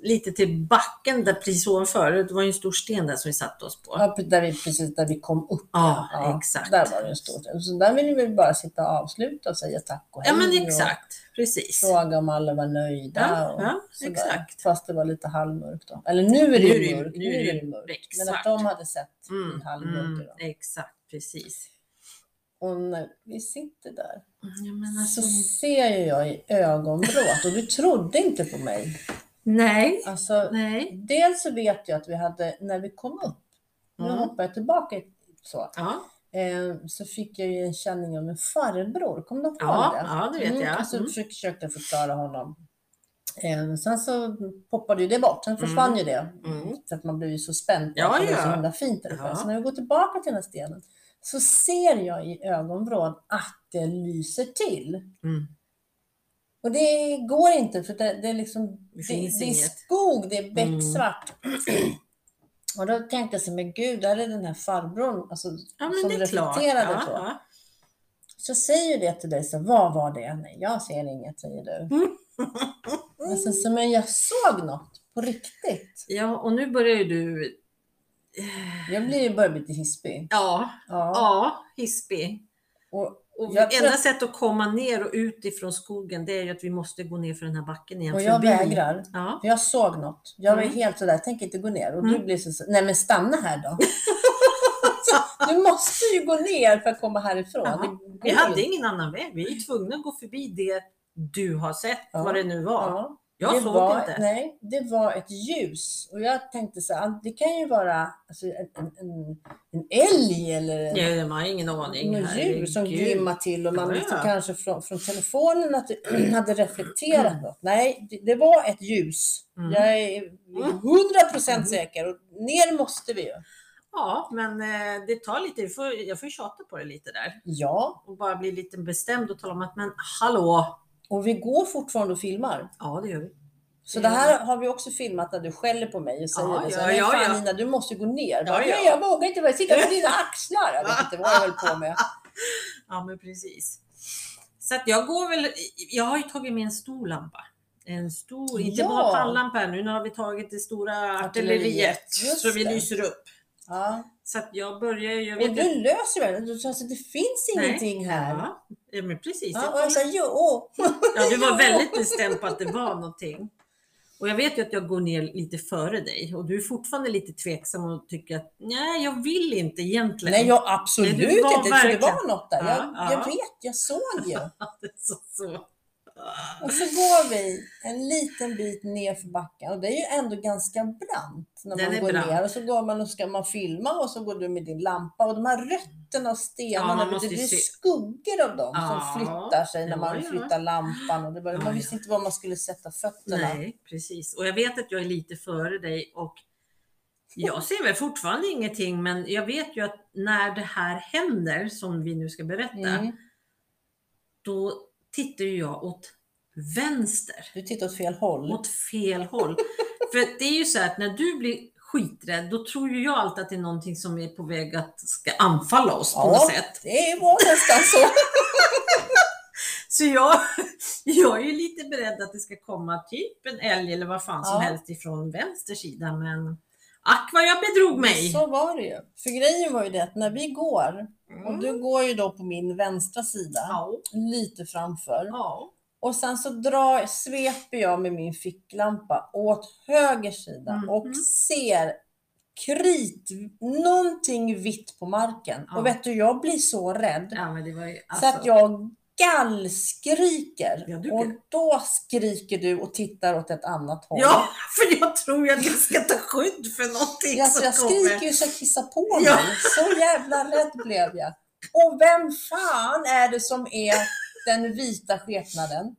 Speaker 2: lite till backen där precis ovanför. Det var ju en stor sten där som vi satte oss på.
Speaker 1: Ja, där vi, precis där vi kom upp.
Speaker 2: Ja,
Speaker 1: Ja,
Speaker 2: exakt.
Speaker 1: Där var det en stor träff. Så där ville vi bara sitta och avsluta och säga tack och hej.
Speaker 2: Ja men exakt, precis.
Speaker 1: Och fråga om alla var nöjda.
Speaker 2: Ja,
Speaker 1: och
Speaker 2: ja
Speaker 1: sådär.
Speaker 2: exakt.
Speaker 1: Fast det var lite halvmörkt då. Eller nu är det
Speaker 2: Nu är
Speaker 1: ju
Speaker 2: det ju-
Speaker 1: mörkt.
Speaker 2: nu är det ju
Speaker 1: mörkt. Men
Speaker 2: becksvart.
Speaker 1: att de hade sett
Speaker 2: Mm,
Speaker 1: i halvmörker.
Speaker 2: mm,
Speaker 1: Då.
Speaker 2: exakt, precis.
Speaker 1: Och när vi sitter där
Speaker 2: Ja, men alltså,
Speaker 1: så ser ju jag i ögonbråt och du trodde inte på mig.
Speaker 2: nej,
Speaker 1: Alltså,
Speaker 2: nej.
Speaker 1: dels så vet jag att vi hade, när vi kom upp, nu
Speaker 2: Mm.
Speaker 1: hoppar jag tillbaka så,
Speaker 2: Ja,
Speaker 1: eh, så fick jag ju en känning av min farbror. Kommer du ihåg
Speaker 2: ja,
Speaker 1: det?
Speaker 2: ja det vet jag.
Speaker 1: Och så
Speaker 2: Mm.
Speaker 1: försökte jag förklara honom. Eh, sen så poppade ju det bort, sen försvann ju det.
Speaker 2: Mm.
Speaker 1: Så att man blev ju så spänd.
Speaker 2: Ja,
Speaker 1: för det var så
Speaker 2: ja.
Speaker 1: himla fint där uppe.
Speaker 2: Ja.
Speaker 1: Så när jag går tillbaka till den här stenen så ser jag i ögonvrån att det lyser till.
Speaker 2: Mm.
Speaker 1: Och det går inte för det, det är liksom
Speaker 2: Det
Speaker 1: det,
Speaker 2: finns
Speaker 1: det är
Speaker 2: inget. Mm.
Speaker 1: skog, det är becksvart. Och då tänkte jag så, men gud, där är den här farbrorn alltså,
Speaker 2: Ja, men
Speaker 1: som
Speaker 2: det är klart.
Speaker 1: reflekterade
Speaker 2: Ja,
Speaker 1: så.
Speaker 2: ja.
Speaker 1: Så säger ju det till dig, så, vad var det? Nej, jag ser inget, säger du. Men sen så, men jag såg något på riktigt.
Speaker 2: ja, och nu börjar ju du... eh,
Speaker 1: Jag blir ju börjar bli lite hispig.
Speaker 2: Ja,
Speaker 1: Ja.
Speaker 2: ja, hispig.
Speaker 1: Och,
Speaker 2: Och
Speaker 1: Jag tror
Speaker 2: enda
Speaker 1: att-
Speaker 2: sättet att komma ner och ut ifrån skogen det är ju att vi måste gå ner för den här backen igen.
Speaker 1: och jag
Speaker 2: förbi.
Speaker 1: vägrar.
Speaker 2: Ja.
Speaker 1: För jag såg något. Jag var
Speaker 2: Mm.
Speaker 1: helt sådär, tänk inte gå ner. Och du
Speaker 2: Mm.
Speaker 1: blir så, så- nej men stanna här då. Så, du måste ju gå ner för att komma härifrån.
Speaker 2: Ja.
Speaker 1: Det går
Speaker 2: Vi hade
Speaker 1: inte.
Speaker 2: ingen annan väg. Vi är tvungna att gå förbi det du har sett,
Speaker 1: Ja.
Speaker 2: vad det nu var.
Speaker 1: Ja.
Speaker 2: Jag
Speaker 1: det
Speaker 2: såg
Speaker 1: var,
Speaker 2: inte.
Speaker 1: Nej, det var ett ljus. Och jag tänkte så här, det kan ju vara alltså, en, en, en, en älg eller en,
Speaker 2: Nej, jag har ingen aning.
Speaker 1: något djur som
Speaker 2: Herregud.
Speaker 1: glimmar till och man
Speaker 2: Ja,
Speaker 1: liksom
Speaker 2: ja.
Speaker 1: kanske från, från telefonen att det hade reflekterat något. Nej, det, det var ett ljus.
Speaker 2: Mm.
Speaker 1: Jag är 100 procent säker och ner måste vi ju.
Speaker 2: Ja, men eh, det tar lite. Jag får, jag får tjata på det lite där
Speaker 1: Ja,
Speaker 2: och bara bli lite bestämd och tala om att men hallå.
Speaker 1: och vi går fortfarande och filmar.
Speaker 2: Ja, det gör vi.
Speaker 1: Så
Speaker 2: Mm.
Speaker 1: det här har vi också filmat när du skäller på mig och säger
Speaker 2: Ja,
Speaker 1: det så
Speaker 2: ja,
Speaker 1: här, "Nej,
Speaker 2: ja,
Speaker 1: fan,
Speaker 2: ja.
Speaker 1: Nina, du måste gå ner.
Speaker 2: Ja,
Speaker 1: Bara,
Speaker 2: ja.
Speaker 1: Nej, jag vågar inte, jag sitter på dina axlar. Jag vet inte vad jag höll på med.
Speaker 2: Ja, men precis. Så att jag går väl. Jag har ju tagit med en stor lampa. En stor, inte
Speaker 1: Ja.
Speaker 2: bara pannlampa här nu. Nu har vi tagit det stora artilleriet
Speaker 1: Just
Speaker 2: så vi
Speaker 1: det.
Speaker 2: lyser upp.
Speaker 1: Ja.
Speaker 2: Så att jag börjar ju. Jag
Speaker 1: Och
Speaker 2: vet
Speaker 1: du löser det. Du sa att det finns
Speaker 2: Nej.
Speaker 1: ingenting här.
Speaker 2: Ja, ja, men precis.
Speaker 1: Ja,
Speaker 2: Jag
Speaker 1: och jag
Speaker 2: kollar-
Speaker 1: sa jo.
Speaker 2: Ja, du var väldigt bestämd på att det var någonting. Och jag vet ju att jag går ner lite före dig och du är fortfarande lite tveksam och tycker att nej, jag vill inte egentligen.
Speaker 1: Nej, jag absolut
Speaker 2: Nej, du var
Speaker 1: inte. För det var
Speaker 2: verkligen-
Speaker 1: något där.
Speaker 2: Ja,
Speaker 1: Jag,
Speaker 2: ja.
Speaker 1: jag vet, jag såg ju.
Speaker 2: Det är så, så.
Speaker 1: Och så går vi en liten bit ner för backen och det är ju ändå ganska brant när
Speaker 2: Den
Speaker 1: man
Speaker 2: är
Speaker 1: går
Speaker 2: brant.
Speaker 1: ner och så går man och ska man filma och så går du med din lampa och de här rötterna och
Speaker 2: Ja,
Speaker 1: stenarna,
Speaker 2: man
Speaker 1: vet
Speaker 2: måste
Speaker 1: du,
Speaker 2: ju
Speaker 1: det är
Speaker 2: se-
Speaker 1: skuggor av dem
Speaker 2: Ja.
Speaker 1: som flyttar sig när
Speaker 2: Ja,
Speaker 1: man
Speaker 2: ja.
Speaker 1: flyttar lampan och det bara,
Speaker 2: Ja,
Speaker 1: man
Speaker 2: ja.
Speaker 1: visste inte var man skulle sätta fötterna.
Speaker 2: Nej, precis. Och jag vet att jag är lite före dig och jag ser väl fortfarande ingenting, men jag vet ju att när det här händer som vi nu ska berätta,
Speaker 1: Mm.
Speaker 2: då tittar ju jag åt vänster,
Speaker 1: Du tittar åt fel håll.
Speaker 2: åt fel håll. För det är ju så här att när du blir skiträdd, då tror ju jag alltid att det är någonting som är på väg att ska anfalla oss på
Speaker 1: Ja.
Speaker 2: något sätt.
Speaker 1: Det var nästan så.
Speaker 2: Så jag, jag är ju lite beredd att det ska komma typ en älg eller vad fan som
Speaker 1: Ja.
Speaker 2: helst ifrån vänster sida. Men ack vad jag bedrog mig.
Speaker 1: Så var det ju. För grejen var ju det att när vi går, och
Speaker 2: Mm.
Speaker 1: du går ju då på min vänstra sida,
Speaker 2: Ja.
Speaker 1: lite framför.
Speaker 2: Ja.
Speaker 1: Och sen så drar, sveper jag med min ficklampa åt höger sida
Speaker 2: Mhm.
Speaker 1: och ser krit, någonting vitt på marken.
Speaker 2: Ja.
Speaker 1: Och vet du, jag blir så rädd
Speaker 2: ja, men det var ju alltså.
Speaker 1: så att jag gallskriker.
Speaker 2: Ja, du
Speaker 1: och
Speaker 2: blir-
Speaker 1: då skriker du och tittar åt ett annat håll.
Speaker 2: Ja, för jag tror ju att jag ska ta skydd för någonting
Speaker 1: Alltså, jag
Speaker 2: som
Speaker 1: skriker ju så jag kissar på mig.
Speaker 2: Ja.
Speaker 1: Så jävla rädd blev jag. Och vem fan är det som är den vita skepnaden?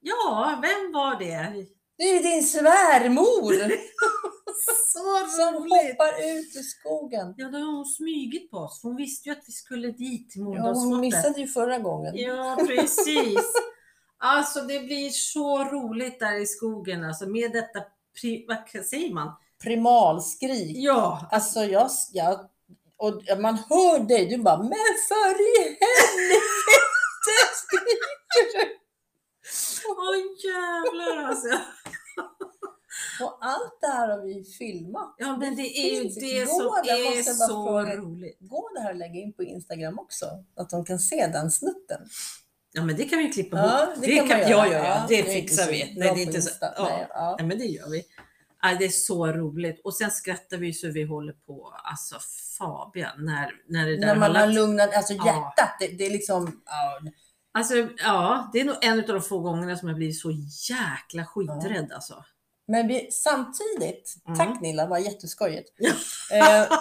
Speaker 2: Ja, vem var det?
Speaker 1: Det är ju din svärmor!
Speaker 2: Så
Speaker 1: som
Speaker 2: roligt!
Speaker 1: hoppar ut i skogen.
Speaker 2: Ja, då har hon smugit på oss. Hon visste ju att vi skulle dit till
Speaker 1: Ja, hon
Speaker 2: Mölndalsslottet.
Speaker 1: missade ju förra gången.
Speaker 2: Ja, precis. Alltså det blir så roligt där i skogen alltså med detta, pri- vad säger man?
Speaker 1: Primalskrik.
Speaker 2: Ja,
Speaker 1: Alltså jag, jag och man hör dig, du bara men för i helvete skriker du!
Speaker 2: åh jävlar alltså.
Speaker 1: Och allt det här har vi filmat.
Speaker 2: Ja, men det är ju
Speaker 1: Finns
Speaker 2: det
Speaker 1: igår,
Speaker 2: som
Speaker 1: jag
Speaker 2: är
Speaker 1: måste bara
Speaker 2: så
Speaker 1: fråga.
Speaker 2: roligt.
Speaker 1: Gå det här och lägga in på Instagram också, att de kan se den snutten.
Speaker 2: Ja, men det kan vi klippa ihop.
Speaker 1: Ja,
Speaker 2: det kan
Speaker 1: man
Speaker 2: jag
Speaker 1: göra.
Speaker 2: göra. Det
Speaker 1: är inte
Speaker 2: fixar
Speaker 1: så
Speaker 2: vi. Nej,
Speaker 1: bra
Speaker 2: det är
Speaker 1: på
Speaker 2: inte så-
Speaker 1: Insta.
Speaker 2: ja.
Speaker 1: Nej, ja.
Speaker 2: Nej, men det gör vi. Nej, det är så roligt. Och sen skrattar vi så vi håller på. Alltså Fabian, när, när det där
Speaker 1: När man
Speaker 2: har
Speaker 1: har
Speaker 2: lagt-
Speaker 1: lugnat, alltså
Speaker 2: Ja.
Speaker 1: hjärtat, det, det är liksom, ja,
Speaker 2: Alltså, ja, det är nog en av de få gångerna som jag blir så jäkla skiträdd alltså.
Speaker 1: Men vi, samtidigt,
Speaker 2: Mm.
Speaker 1: tack Nilla, det var jätteskojigt.
Speaker 2: Ja.
Speaker 1: eh,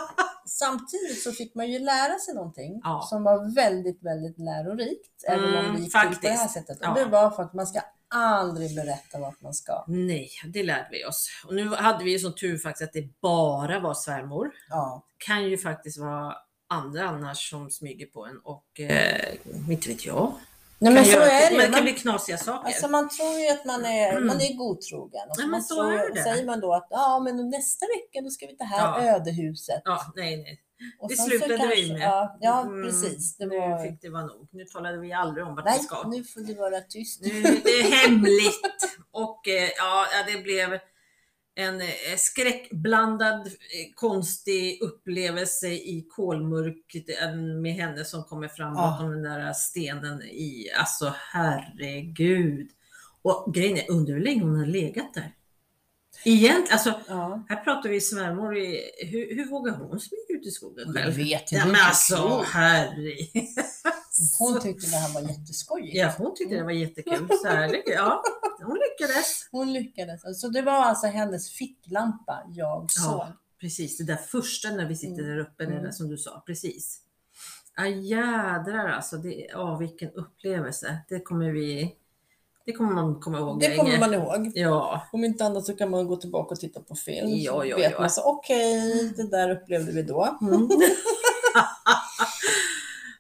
Speaker 1: samtidigt så fick man ju lära sig någonting
Speaker 2: Ja.
Speaker 1: som var väldigt, väldigt lärorikt. även om
Speaker 2: Mm,
Speaker 1: det gick till på det här
Speaker 2: faktiskt.
Speaker 1: sättet.
Speaker 2: Ja.
Speaker 1: Och det var för att man ska aldrig berätta vart man ska.
Speaker 2: Nej, det lärde vi oss. Och nu hade vi ju som tur faktiskt att det bara var svärmor.
Speaker 1: Ja.
Speaker 2: Kan ju faktiskt vara andra annars som smyger på en och eh, inte vet jag.
Speaker 1: Nej, men
Speaker 2: Kan
Speaker 1: så
Speaker 2: göra-
Speaker 1: är det
Speaker 2: men
Speaker 1: ju.
Speaker 2: det kan
Speaker 1: Man,
Speaker 2: bli knasiga saker.
Speaker 1: alltså, man tror ju att man är, man är godtrogen. Och
Speaker 2: Mm. Ja, men
Speaker 1: man
Speaker 2: så
Speaker 1: tror,
Speaker 2: är det.
Speaker 1: Säger man då att ja, men nästa vecka då ska vi till det här ödehuset.
Speaker 2: Ja, nej, nej.
Speaker 1: Och
Speaker 2: Det
Speaker 1: sen så
Speaker 2: slutade vi
Speaker 1: kanske-
Speaker 2: med.
Speaker 1: Ja, ja
Speaker 2: Mm,
Speaker 1: precis. Det
Speaker 2: Nu
Speaker 1: var,
Speaker 2: fick det vara nog. Nu talade vi aldrig om vart
Speaker 1: nej,
Speaker 2: vi ska.
Speaker 1: nu får du vara tyst.
Speaker 2: Nu, det är hemligt och eh, ja, ja, det blev en eh, skräckblandad eh, konstig upplevelse i kolmörkret eh, med henne som kommer fram
Speaker 1: Ja.
Speaker 2: bakom den där stenen i, alltså herregud. Och grejen är, undrar hur länge hon har legat där. Egentligen, alltså
Speaker 1: Ja.
Speaker 2: här pratar vi svärmor, i, hur, hur vågar hon smyga ut i skogen
Speaker 1: Jag
Speaker 2: själv?
Speaker 1: vet
Speaker 2: Ja,
Speaker 1: inte.
Speaker 2: men alltså herre.
Speaker 1: Hon tyckte det här var jätteskojigt.
Speaker 2: Ja, hon tyckte det var jättekul. Så här, det- ja, hon lyckades.
Speaker 1: Hon lyckades. Så det var alltså hennes ficklampa jag
Speaker 2: Ja.
Speaker 1: såg.
Speaker 2: Precis, det där första när vi sitter
Speaker 1: Mm.
Speaker 2: där uppe, det
Speaker 1: Mm.
Speaker 2: där som du sa, precis. Ja jädrar alltså, det, ja, vilken upplevelse. Det kommer vi, det kommer man komma ihåg
Speaker 1: Det kommer man ihåg.
Speaker 2: Ja,
Speaker 1: Om inte annat så kan man gå tillbaka och titta på film.
Speaker 2: Ja,
Speaker 1: Så
Speaker 2: ja,
Speaker 1: vet
Speaker 2: ja.
Speaker 1: man så okej, det där upplevde vi då.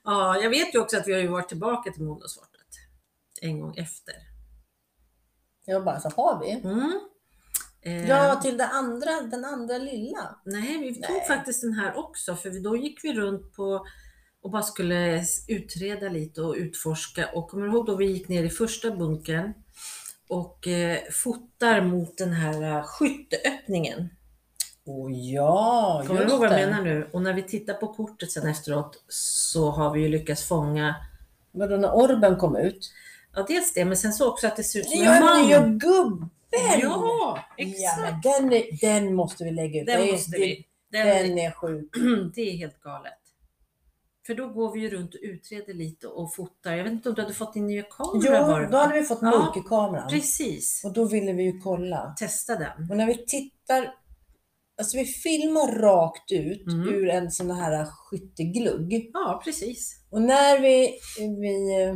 Speaker 2: ja, jag vet ju också att vi har ju varit tillbaka till Måndagsvartet en gång efter.
Speaker 1: Jag bara, så har vi?
Speaker 2: Mm. Eh,
Speaker 1: Ja, till det andra, den andra lilla.
Speaker 2: Nej, vi tog
Speaker 1: Nej.
Speaker 2: faktiskt den här också, för vi- då gick vi runt på och bara skulle s- utreda lite och utforska. Och kommer du ihåg då vi gick ner i första bunkern och eh, fotar mot den här eh, skytteöppningen?
Speaker 1: Åh ja,
Speaker 2: Kommer du
Speaker 1: just
Speaker 2: ihåg vad
Speaker 1: det.
Speaker 2: jag menar nu? Och när vi tittar på kortet sen efteråt så har vi ju lyckats fånga
Speaker 1: Vadå när orben kom ut?
Speaker 2: Ja, dels det, men sen så också att det ser ut som
Speaker 1: Jag
Speaker 2: en
Speaker 1: är
Speaker 2: man.
Speaker 1: ju gubbe! Bell!
Speaker 2: Ja,
Speaker 1: Ja,
Speaker 2: exakt.
Speaker 1: men den, är- den måste vi lägga ut.
Speaker 2: Den
Speaker 1: Det är-
Speaker 2: måste
Speaker 1: det-
Speaker 2: vi. Den,
Speaker 1: den är sjuk.
Speaker 2: Det är helt galet. För då går vi ju runt och utreder lite och fotar. Jag vet inte om du hade fått din nya
Speaker 1: Jo,
Speaker 2: kamera? var det,
Speaker 1: då
Speaker 2: va?
Speaker 1: hade vi fått
Speaker 2: Ja,
Speaker 1: multikameran.
Speaker 2: Precis.
Speaker 1: Och då ville vi ju kolla.
Speaker 2: Testa den.
Speaker 1: Och när vi tittar, alltså vi filmar rakt ut
Speaker 2: Mm.
Speaker 1: ur en sån här skytteglugg.
Speaker 2: Ja, precis.
Speaker 1: Och när vi, vi eh,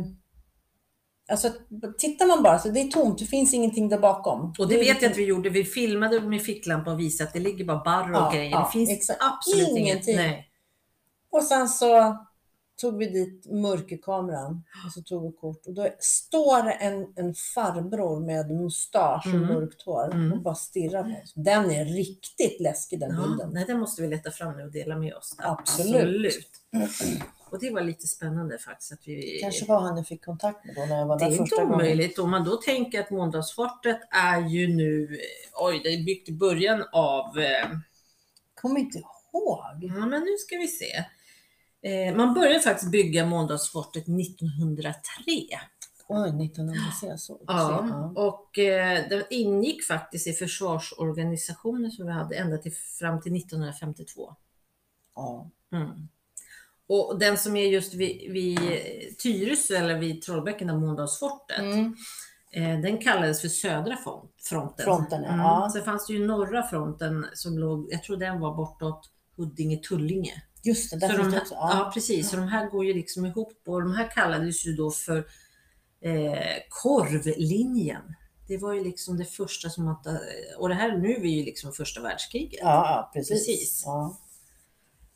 Speaker 1: alltså tittar man bara så det är tomt, det finns ingenting där bakom.
Speaker 2: Och det vet jag att vi gjorde. Vi filmade med ficklampa och visade att det ligger bara barr och
Speaker 1: Ja,
Speaker 2: grejer.
Speaker 1: ja,
Speaker 2: det finns
Speaker 1: exakt.
Speaker 2: absolut
Speaker 1: Ingenting.
Speaker 2: ingenting. Nej.
Speaker 1: Och sen så tog vi dit mörkerkameran och så tog vi kort och då står det en, en farbror med mustasch och
Speaker 2: Mm.
Speaker 1: mörkt hår
Speaker 2: Mm.
Speaker 1: och bara stirrar på oss. Den är riktigt läskig den
Speaker 2: Ja,
Speaker 1: bilden.
Speaker 2: nej, den måste vi leta fram nu och dela med oss.
Speaker 1: Absolut.
Speaker 2: Och det var lite spännande faktiskt. Att vi...
Speaker 1: Kanske var han jag fick kontakt med då när jag var
Speaker 2: Det
Speaker 1: där
Speaker 2: är inte
Speaker 1: första gången.
Speaker 2: omöjligt. Om man då tänker att måndagsfortet är ju nu, eh, oj, det är byggt i början av, eh,
Speaker 1: Kommer inte ihåg.
Speaker 2: ja men nu ska vi se. Eh, man började faktiskt bygga måndagsfortet 1903.
Speaker 1: Oj, 1900 så.
Speaker 2: Ja, och eh, det ingick faktiskt i försvarsorganisationen som vi hade ända till, fram till 1952.
Speaker 1: ja.
Speaker 2: Mm. Och den som är just vid, vid eh, Tyresö eller vid Trollbäcken, där måndagsfortet,
Speaker 1: Mm.
Speaker 2: Eh, Den kallades för södra fron- fronten. Mm.
Speaker 1: Fronten, ja.
Speaker 2: Sen fanns det ju norra fronten som låg, jag tror den var bortåt Huddinge-Tullinge.
Speaker 1: Just det, där
Speaker 2: Så
Speaker 1: finns
Speaker 2: de
Speaker 1: det
Speaker 2: här,
Speaker 1: också. Ja.
Speaker 2: ja precis, så de här går ju liksom ihop och de här kallades ju då för eh, korvlinjen. Det var ju liksom det första som att, eh, och det här nu är ju liksom första världskriget.
Speaker 1: Ja, ja, precis.
Speaker 2: Precis.
Speaker 1: Ja. Mm.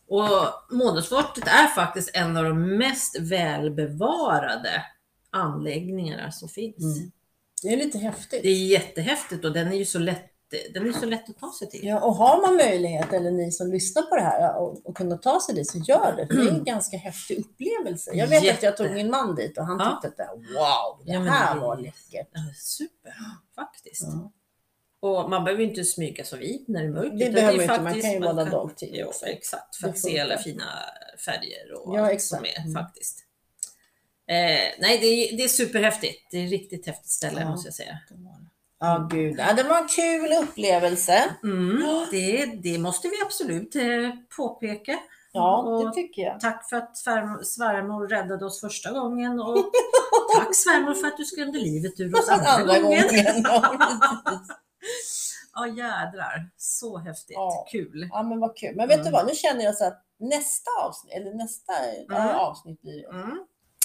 Speaker 2: Och Måndagsfortet är faktiskt en av de mest välbevarade anläggningarna som finns.
Speaker 1: Mm. Det är lite häftigt.
Speaker 2: Det är jättehäftigt och den är ju så lätt, den är ju så lätt att ta sig till.
Speaker 1: Ja, och har man möjlighet, eller ni som lyssnar på det här, och, och kunna ta sig dit så gör det. För det är en ganska häftig upplevelse. Jag vet att jag
Speaker 2: Jätte.
Speaker 1: tog min man dit och han
Speaker 2: Ja.
Speaker 1: tyckte att det, wow, det
Speaker 2: Ja, men
Speaker 1: här
Speaker 2: det-
Speaker 1: var läckert.
Speaker 2: Ja, Super, faktiskt.
Speaker 1: Ja.
Speaker 2: Och man behöver ju inte smyga som vi när det är mörkt.
Speaker 1: Det
Speaker 2: utan är
Speaker 1: behöver inte, man kan ju vara
Speaker 2: kan-
Speaker 1: dagtid
Speaker 2: Jo,
Speaker 1: också.
Speaker 2: exakt, för
Speaker 1: Det
Speaker 2: att se
Speaker 1: funkar.
Speaker 2: alla fina färger och
Speaker 1: Ja,
Speaker 2: allt
Speaker 1: exakt.
Speaker 2: som är
Speaker 1: Mm.
Speaker 2: faktiskt. Eh, nej, det är, det är superhäftigt. Det är ett riktigt häftigt ställe
Speaker 1: Ja.
Speaker 2: måste jag säga.
Speaker 1: Ja, gud. Ja, det var en kul upplevelse.
Speaker 2: Mm, det, det måste vi absolut eh, påpeka.
Speaker 1: Ja,
Speaker 2: Och
Speaker 1: det tycker jag.
Speaker 2: Tack för att svärm- svärmor räddade oss första gången och tack svärmor för att du skrämde livet ur oss andra,
Speaker 1: Andra
Speaker 2: gången.
Speaker 1: gången.
Speaker 2: Ja jädrar, så häftigt,
Speaker 1: Ja.
Speaker 2: kul.
Speaker 1: Ja, men vad kul. Men vet
Speaker 2: Mm.
Speaker 1: du vad, nu känner jag så att nästa avsnitt, eller nästa det här
Speaker 2: Mm.
Speaker 1: avsnitt blir det.
Speaker 2: Mm.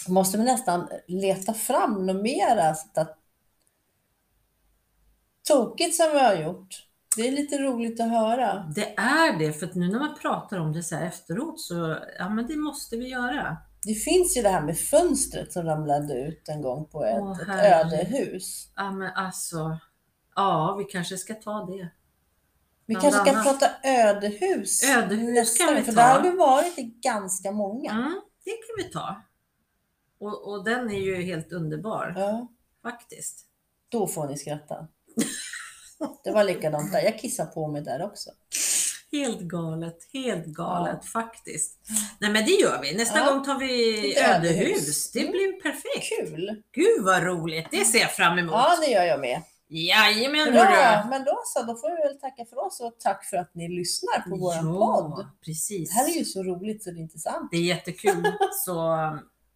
Speaker 1: måste vi nästan leta fram något mera så att tokigt som vi har gjort. Det är lite roligt att höra.
Speaker 2: Det är det, för att nu när man pratar om det så här efteråt så, ja men det måste vi göra.
Speaker 1: Det finns ju det här med fönstret som ramlade ut en gång på ett,
Speaker 2: Åh,
Speaker 1: ett
Speaker 2: herregud.
Speaker 1: ödehus.
Speaker 2: Ja men alltså, ja vi kanske ska ta det.
Speaker 1: Vi
Speaker 2: Bland
Speaker 1: kanske kan
Speaker 2: annat.
Speaker 1: prata ödehus,
Speaker 2: Ödehus
Speaker 1: nästa
Speaker 2: kan vi
Speaker 1: gång, för
Speaker 2: ta.
Speaker 1: där har vi varit i ganska många.
Speaker 2: Mm, det kan vi ta. Och, och den är ju helt underbar,
Speaker 1: Ja,
Speaker 2: faktiskt.
Speaker 1: då får ni skratta. Det var likadant där. Jag kissade på mig där också.
Speaker 2: Helt galet, helt galet faktiskt. Nej men det gör vi. Nästa
Speaker 1: Ja.
Speaker 2: gång tar vi
Speaker 1: Ett ödehus. Mm.
Speaker 2: ödehus. Det blir perfekt.
Speaker 1: Kul!
Speaker 2: Gud vad roligt, det ser jag fram emot.
Speaker 1: Ja, det gör jag med.
Speaker 2: Jajamän
Speaker 1: Bra,
Speaker 2: hörru.
Speaker 1: men då så, då får vi väl tacka för oss och tack för att ni lyssnar på våran podd.
Speaker 2: precis.
Speaker 1: Det här är ju så roligt så det är inte sant.
Speaker 2: Det är jättekul. Så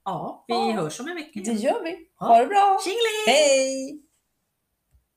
Speaker 2: ja, vi
Speaker 1: Ja.
Speaker 2: hörs om en vecka.
Speaker 1: Det gör vi.
Speaker 2: Ja.
Speaker 1: Ha det bra!
Speaker 2: Tjingeling!
Speaker 1: Hej!